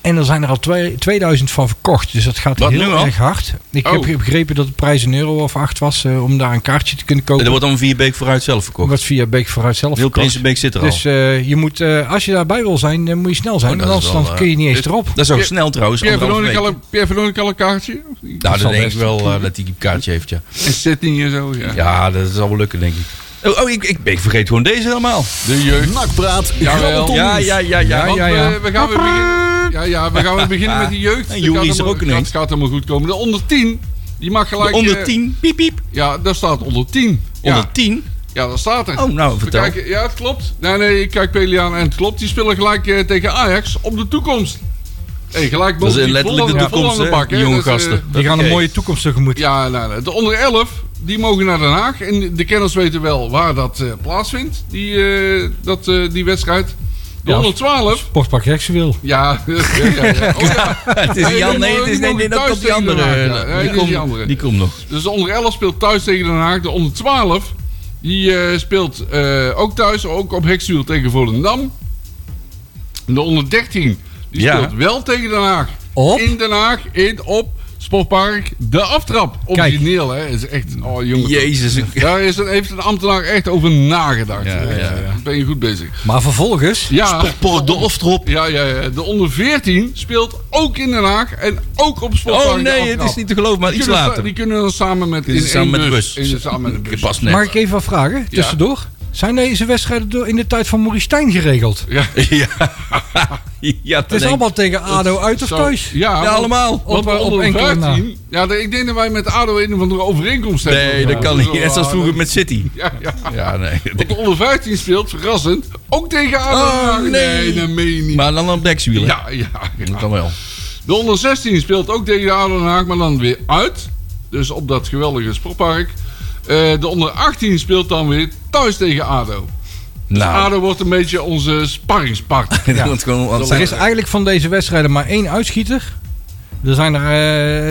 Speaker 3: En er zijn er al twee- 2000 van verkocht. Dus dat gaat
Speaker 2: Wat, nu
Speaker 3: heel
Speaker 2: al?
Speaker 3: erg hard. Ik
Speaker 4: Oh.
Speaker 3: heb begrepen dat de prijs een euro of acht was eh, om daar een kaartje te kunnen
Speaker 2: En
Speaker 3: kopen.
Speaker 2: dat wordt dan vier beek vooruit zelf verkocht.
Speaker 3: Wat via Beek vooruit zelf
Speaker 2: Wil
Speaker 3: verkocht.
Speaker 2: Prinsenbeek zit er al.
Speaker 3: Dus eh, je moet, eh, als je daarbij wil zijn, dan moet je snel zijn.
Speaker 2: Oh, dat
Speaker 3: want
Speaker 2: is
Speaker 3: anders
Speaker 2: wel,
Speaker 3: dan
Speaker 2: eh,
Speaker 3: kun je niet eens erop.
Speaker 2: Dat is ook
Speaker 4: Pier-
Speaker 2: snel trouwens.
Speaker 4: Pierre
Speaker 2: anderhalve
Speaker 4: Veronic
Speaker 2: week.
Speaker 4: al, een- Pierre Veronic al een kaartje?
Speaker 2: Nou, dan
Speaker 3: zal
Speaker 2: denk ik
Speaker 3: best.
Speaker 2: wel eh, dat hij een kaartje heeft, ja.
Speaker 4: En Sydney en zo, ja.
Speaker 2: Ja, dat zal wel lukken, denk ik. Oh, oh, ik, ik, ik vergeet gewoon deze helemaal.
Speaker 4: De jeugd.
Speaker 1: Nakpraat,
Speaker 4: Jawel.
Speaker 1: grabbelton.
Speaker 2: Ja, ja, ja, ja.
Speaker 4: Want,
Speaker 3: ja, ja.
Speaker 4: eh, we gaan weer beginnen. Ja, ja, we gaan weer beginnen met de jeugd.
Speaker 2: En Joeri
Speaker 4: Dat gaat
Speaker 2: is er
Speaker 4: allemaal-
Speaker 2: ook in.
Speaker 4: Dat gaat helemaal goed komen. De onder 10, die mag gelijk...
Speaker 2: De onder
Speaker 4: eh,
Speaker 2: 10. Piep, piep.
Speaker 4: ja, daar staat onder 10. Ja,
Speaker 2: Onder 10.
Speaker 4: ja daar staat er.
Speaker 2: Oh, nou,
Speaker 4: We
Speaker 2: vertel.
Speaker 4: kijken- ja, het klopt. Nee, nee, ik kijk Peliaan en het klopt. Die spelen gelijk eh, tegen Ajax op de toekomst. Hey, gelijk
Speaker 2: Dat is
Speaker 4: bond-
Speaker 2: letterlijk
Speaker 4: vol
Speaker 2: de
Speaker 4: aan vol aan
Speaker 2: toekomst, hè,
Speaker 4: bak,
Speaker 2: die jonge
Speaker 4: Dus, eh,
Speaker 2: gasten.
Speaker 3: Die gaan een
Speaker 2: Oké.
Speaker 3: mooie toekomst tegemoet.
Speaker 4: Ja, nou, nou, de onder 11, die mogen naar Den Haag. En de kenners weten wel waar dat eh, plaatsvindt, die, eh, dat, eh, die wedstrijd. De
Speaker 3: Ja.
Speaker 4: onder 12,
Speaker 3: Sportpark seksueel.
Speaker 4: ja. ja, ja, ja. Oh, ja.
Speaker 2: Het is
Speaker 4: Nee,
Speaker 2: die
Speaker 4: die
Speaker 2: an- nee,
Speaker 4: mogen-
Speaker 2: het
Speaker 4: die
Speaker 2: is nee, nee,
Speaker 4: mogen
Speaker 2: dat
Speaker 4: thuis
Speaker 2: komt die
Speaker 4: tegen
Speaker 2: andere. eh,
Speaker 4: Den Haag, ja. Ja,
Speaker 2: die,
Speaker 4: dit is
Speaker 2: komt,
Speaker 4: die andere.
Speaker 2: die komt nog.
Speaker 4: Dus de onder 11 speelt thuis tegen Den Haag. De onder 12, die eh, speelt eh, ook thuis, ook op Hekstuur tegen Volendam. De onder 13, die
Speaker 2: Ja.
Speaker 4: speelt wel tegen Den Haag.
Speaker 3: Op?
Speaker 4: In Den Haag, in, op Sportpark, de aftrap. Origineel, hè. is echt, oh jongen.
Speaker 2: Jezus. ik-
Speaker 4: Daar is, heeft een ambtenaar echt over nagedacht. Eh,
Speaker 2: Ja, ja, ja.
Speaker 4: Daar Ben je goed bezig.
Speaker 3: Maar vervolgens,
Speaker 4: Ja,
Speaker 2: Popor de Oftrop.
Speaker 4: ja, ja, ja. De onder 14 speelt ook in Den Haag en ook op Sportpark.
Speaker 2: Oh
Speaker 4: de
Speaker 2: nee, het
Speaker 4: aftrap.
Speaker 2: is niet te geloven, maar
Speaker 4: Die
Speaker 2: iets
Speaker 4: kunnen, sta-
Speaker 2: later.
Speaker 4: Die kunnen dan samen met,
Speaker 2: Dit
Speaker 4: in
Speaker 2: is samen
Speaker 4: één
Speaker 2: met de
Speaker 4: bus.
Speaker 2: bus.
Speaker 4: In- samen met de bus.
Speaker 2: Pas
Speaker 3: mag
Speaker 2: net.
Speaker 3: ik even wat vragen? Tussendoor. Zijn deze wedstrijden door in de tijd van Maurice Stijn geregeld?
Speaker 4: Ja,
Speaker 2: Ja, ja
Speaker 3: Het is allemaal tegen ADO uit of
Speaker 4: zo-
Speaker 3: thuis?
Speaker 4: Ja,
Speaker 2: Ja,
Speaker 4: want-
Speaker 2: allemaal.
Speaker 4: Want
Speaker 3: Op-
Speaker 4: we
Speaker 3: op
Speaker 4: onder
Speaker 3: enkele
Speaker 4: 15... Ja, de- ik denk dat wij met ADO een of andere overeenkomst hebben.
Speaker 2: Nee, dat kan niet. Net zoals vroeger met City.
Speaker 4: Ja, ja.
Speaker 2: Ja, nee.
Speaker 4: Want de onder 15 speelt, verrassend, ook tegen ADO.
Speaker 2: Oh, nee.
Speaker 4: dat meen je niet.
Speaker 2: Maar dan op dekwielen.
Speaker 4: Ja, ja, ja.
Speaker 2: Dat kan wel.
Speaker 4: De onder 16 speelt ook tegen de ADO Den Haag, maar dan weer uit. Dus op dat geweldige sportpark. Eh, de onder 18 speelt dan weer thuis tegen ADO.
Speaker 2: Nou,
Speaker 4: Ado wordt een beetje onze sparringspartner.
Speaker 2: ja. gewoon, want
Speaker 3: Er is eigenlijk van deze wedstrijden maar één uitschieter. Er zijn er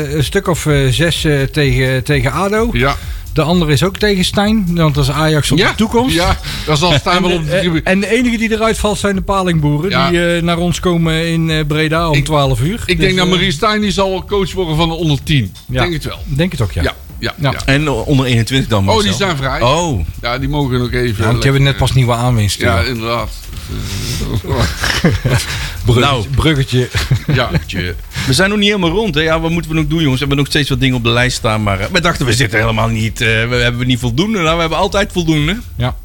Speaker 3: eh, een stuk of eh, zes eh, tegen, tegen ADO.
Speaker 4: Ja.
Speaker 3: De andere is ook tegen Stijn. Want dat is Ajax op
Speaker 4: ja.
Speaker 3: de toekomst.
Speaker 4: Ja, dat zal staan wel op de
Speaker 3: Eh,
Speaker 4: tribune.
Speaker 3: En de enige die eruit valt zijn de palingboeren.
Speaker 4: Ja.
Speaker 3: Die eh, naar ons komen in eh, Breda om
Speaker 4: Ik-
Speaker 3: 12 uur.
Speaker 4: Ik
Speaker 3: Dus,
Speaker 4: denk dat
Speaker 3: eh,
Speaker 4: Marie Stijn die zal wel coach worden van de onder 10.
Speaker 3: ja.
Speaker 4: Denk het wel.
Speaker 3: Denk het ook, ja.
Speaker 4: Ja, ja, ja.
Speaker 3: Ja.
Speaker 2: En onder 21 dan,
Speaker 4: Oh,
Speaker 2: Marcel.
Speaker 4: die zijn vrij.
Speaker 2: Oh,
Speaker 4: Ja, die mogen nog even...
Speaker 3: Ja, want die hebben net pas nieuwe aanwinst.
Speaker 4: Ja,
Speaker 3: Ja,
Speaker 4: inderdaad.
Speaker 2: nou.
Speaker 3: Bruggetje.
Speaker 4: Ja.
Speaker 2: Tje. We zijn nog niet helemaal rond. Hè? Ja, wat moeten we nog doen, jongens? We hebben nog steeds wat dingen op de lijst staan. Maar eh, we dachten, we zitten helemaal niet. eh, we hebben niet voldoende. Nou, we hebben altijd voldoende. Dat
Speaker 3: Ja.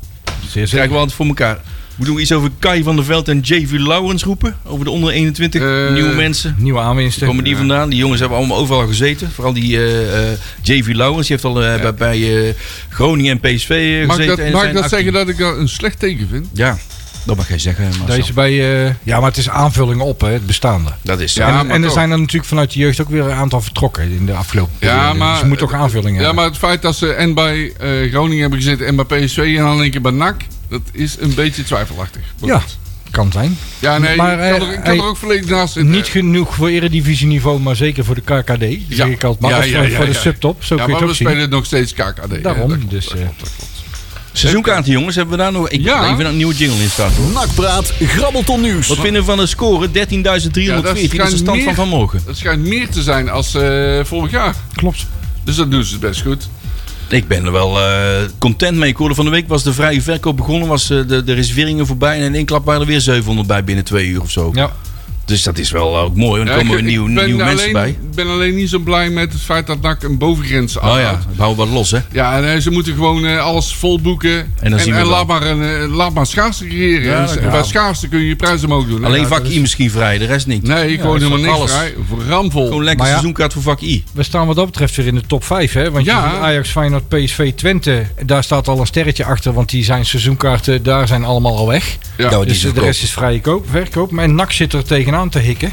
Speaker 3: Zeer zeker.
Speaker 2: krijgen we altijd voor elkaar. Moeten we iets over Kai van der Veld en JV Lawrence roepen? Over de onder 21
Speaker 4: Eh,
Speaker 2: nieuwe mensen.
Speaker 3: Nieuwe aanwinsten.
Speaker 2: Daar komen die vandaan. Die jongens hebben allemaal overal gezeten. Vooral die eh, eh, JV Lawrence. Die heeft al eh, bij, bij eh, Groningen en PSV eh,
Speaker 4: Mag ik
Speaker 2: gezeten.
Speaker 4: dat, mag ik
Speaker 2: en zijn
Speaker 4: dat
Speaker 2: actief.
Speaker 4: zeggen dat ik dat een slecht teken vind?
Speaker 2: Ja, dat mag jij zeggen, Marcel.
Speaker 3: Deze bij, eh, ja, maar het is aanvulling op, hè, het bestaande.
Speaker 2: Dat is
Speaker 4: Ja,
Speaker 3: en,
Speaker 4: maar
Speaker 3: en er
Speaker 4: toch.
Speaker 3: zijn er natuurlijk vanuit de jeugd ook weer een aantal vertrokken in de afgelopen periode.
Speaker 4: maar-
Speaker 3: dus je moet toch aanvulling
Speaker 4: Ja,
Speaker 3: hebben.
Speaker 4: maar het feit dat ze en bij eh, Groningen hebben gezeten en bij PSV en dan een keer bij NAC, dat is een beetje twijfelachtig. Maar
Speaker 3: Ja,
Speaker 4: goed.
Speaker 3: kan zijn.
Speaker 4: Ja, nee,
Speaker 3: Maar,
Speaker 4: ik kan,
Speaker 3: eh,
Speaker 4: er, ik kan
Speaker 3: hij-
Speaker 4: er ook volledig naast zitten.
Speaker 3: Niet genoeg voor eredivisieniveau, maar zeker voor de KKD.
Speaker 4: Ja.
Speaker 3: Zeg ik altijd. Maar
Speaker 4: Ja,
Speaker 3: of
Speaker 4: ja,
Speaker 3: voor,
Speaker 4: ja,
Speaker 3: voor de
Speaker 4: ja.
Speaker 3: subtop, zo
Speaker 4: ja,
Speaker 3: kun je
Speaker 4: maar
Speaker 3: het
Speaker 4: we
Speaker 3: ook zien.
Speaker 4: spelen nog steeds KKD. hè,
Speaker 3: Daarom,
Speaker 4: dat klopt,
Speaker 3: dus,
Speaker 4: dat
Speaker 3: eh,
Speaker 4: klopt, dat klopt.
Speaker 2: Seizoenkaarten, jongens. Hebben we daar nog... Ik
Speaker 4: Ja.
Speaker 2: even dat een nieuwe jingle in staat, hoor.
Speaker 1: Nakpraat, grabbelton nieuws.
Speaker 2: Wat vinden we van de score? 13.314.
Speaker 4: Ja,
Speaker 2: dat
Speaker 4: dat
Speaker 2: is de
Speaker 4: schijnt
Speaker 2: stand van
Speaker 4: meer-
Speaker 2: vanmorgen.
Speaker 4: Dat schijnt meer te zijn als eh, vorig jaar.
Speaker 3: Klopt.
Speaker 4: Dus dat doen ze best goed.
Speaker 2: Ik ben er wel eh, content mee. Ik hoorde van de week was de vrije verkoop begonnen. Was eh, de, de reserveringen voorbij. En in één klap waren er weer 700 bij binnen twee uur of zo.
Speaker 3: Ja.
Speaker 2: Dus dat is wel ook mooi. Want
Speaker 4: Ja,
Speaker 2: er komen weer
Speaker 4: ik-
Speaker 2: nieuw,
Speaker 4: ik ben
Speaker 2: nieuwe mensen
Speaker 4: alleen-
Speaker 2: bij.
Speaker 4: Ik ben alleen niet zo blij met het feit dat NAC een bovengrens
Speaker 2: Oh
Speaker 4: aanhoudt.
Speaker 2: ja, we houden wat los, hè.
Speaker 4: Ja, en, eh, ze moeten gewoon eh, alles volboeken.
Speaker 2: dan
Speaker 4: En,
Speaker 2: zien we
Speaker 4: en
Speaker 2: wel.
Speaker 4: laat, maar een, eh, laat maar schaarste creëren.
Speaker 2: Ja,
Speaker 4: En
Speaker 2: dat
Speaker 4: s-
Speaker 2: kan.
Speaker 4: bij schaarste kun je je prijzen omhoog doen. hè?
Speaker 2: alleen
Speaker 4: Ja,
Speaker 2: vak
Speaker 4: dat
Speaker 2: I misschien vrij. De rest niet.
Speaker 4: is- Nee, ik
Speaker 3: Ja,
Speaker 4: hoor
Speaker 3: dat is
Speaker 4: helemaal niks
Speaker 2: alles.
Speaker 4: vrij. Ramvol.
Speaker 2: Gewoon lekker
Speaker 3: Maar ja.
Speaker 2: seizoenkaart voor vak I.
Speaker 3: We staan wat dat betreft weer in de top 5. Hè? Want je
Speaker 4: Ja.
Speaker 3: ziet Ajax, Feyenoord, PSV, Twente. Daar staat al een sterretje achter. Want die zijn seizoenkaarten, daar zijn allemaal al weg.
Speaker 4: Ja.
Speaker 2: Nou, die
Speaker 3: Dus
Speaker 2: is
Speaker 3: de
Speaker 2: goedkoop.
Speaker 3: rest is vrije koop, verkoop. Maar NAC zit er tegenaan te hikken.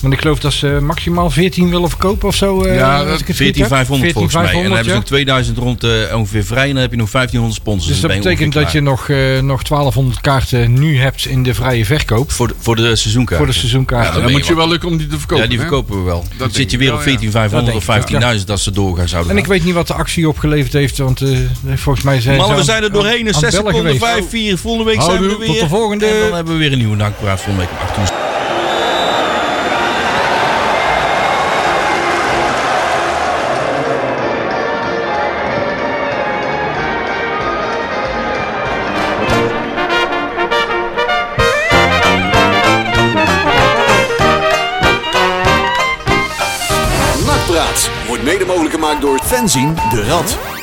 Speaker 3: Want ik geloof dat ze maximaal 14 willen verkopen of zo. eh,
Speaker 4: Ja,
Speaker 3: als
Speaker 4: dat-
Speaker 3: ik het goed heb.
Speaker 2: 14.500 volgens mij. En dan
Speaker 3: 14.500,
Speaker 2: hebben ze
Speaker 3: ja.
Speaker 2: nog 2000 rond eh, ongeveer vrij. En dan heb je nog 1500 sponsors.
Speaker 3: Dus dat
Speaker 2: ben je ongeveer
Speaker 3: betekent dat je
Speaker 2: klaar.
Speaker 3: nog, eh, nog 1200 kaarten nu hebt in de vrije verkoop.
Speaker 2: Voor de, voor de seizoenkaart.
Speaker 3: Voor de seizoenkaarten.
Speaker 2: Ja,
Speaker 4: Dan
Speaker 2: ben
Speaker 4: moet
Speaker 2: je
Speaker 4: je wel lukken om die te verkopen.
Speaker 2: ja, die
Speaker 4: hè?
Speaker 2: verkopen we wel. Dan
Speaker 4: denk
Speaker 2: zit je
Speaker 4: ik
Speaker 2: weer
Speaker 4: wel,
Speaker 2: op
Speaker 4: ja.
Speaker 2: 14,500 of
Speaker 3: Dat denk ik, ja.
Speaker 2: 15.000 dat ze doorgaan zouden.
Speaker 3: en ik
Speaker 2: gaan.
Speaker 3: weet niet wat de actie opgeleverd heeft. Want eh, volgens mij zijn
Speaker 2: Mannen,
Speaker 3: ze
Speaker 2: we
Speaker 3: aan-
Speaker 2: zijn er doorheen. En
Speaker 3: aan- aan
Speaker 2: 6
Speaker 3: bellen
Speaker 2: seconden,
Speaker 3: geweest.
Speaker 2: 5, 4. Volgende week
Speaker 3: Houdoe,
Speaker 2: zijn we weer.
Speaker 3: tot de volgende.
Speaker 2: En dan hebben we weer een nieuwe nakpraat. Volgende week om 8 uur.
Speaker 1: Nakpraat wordt mede mogelijk gemaakt door Fenzin de Rad.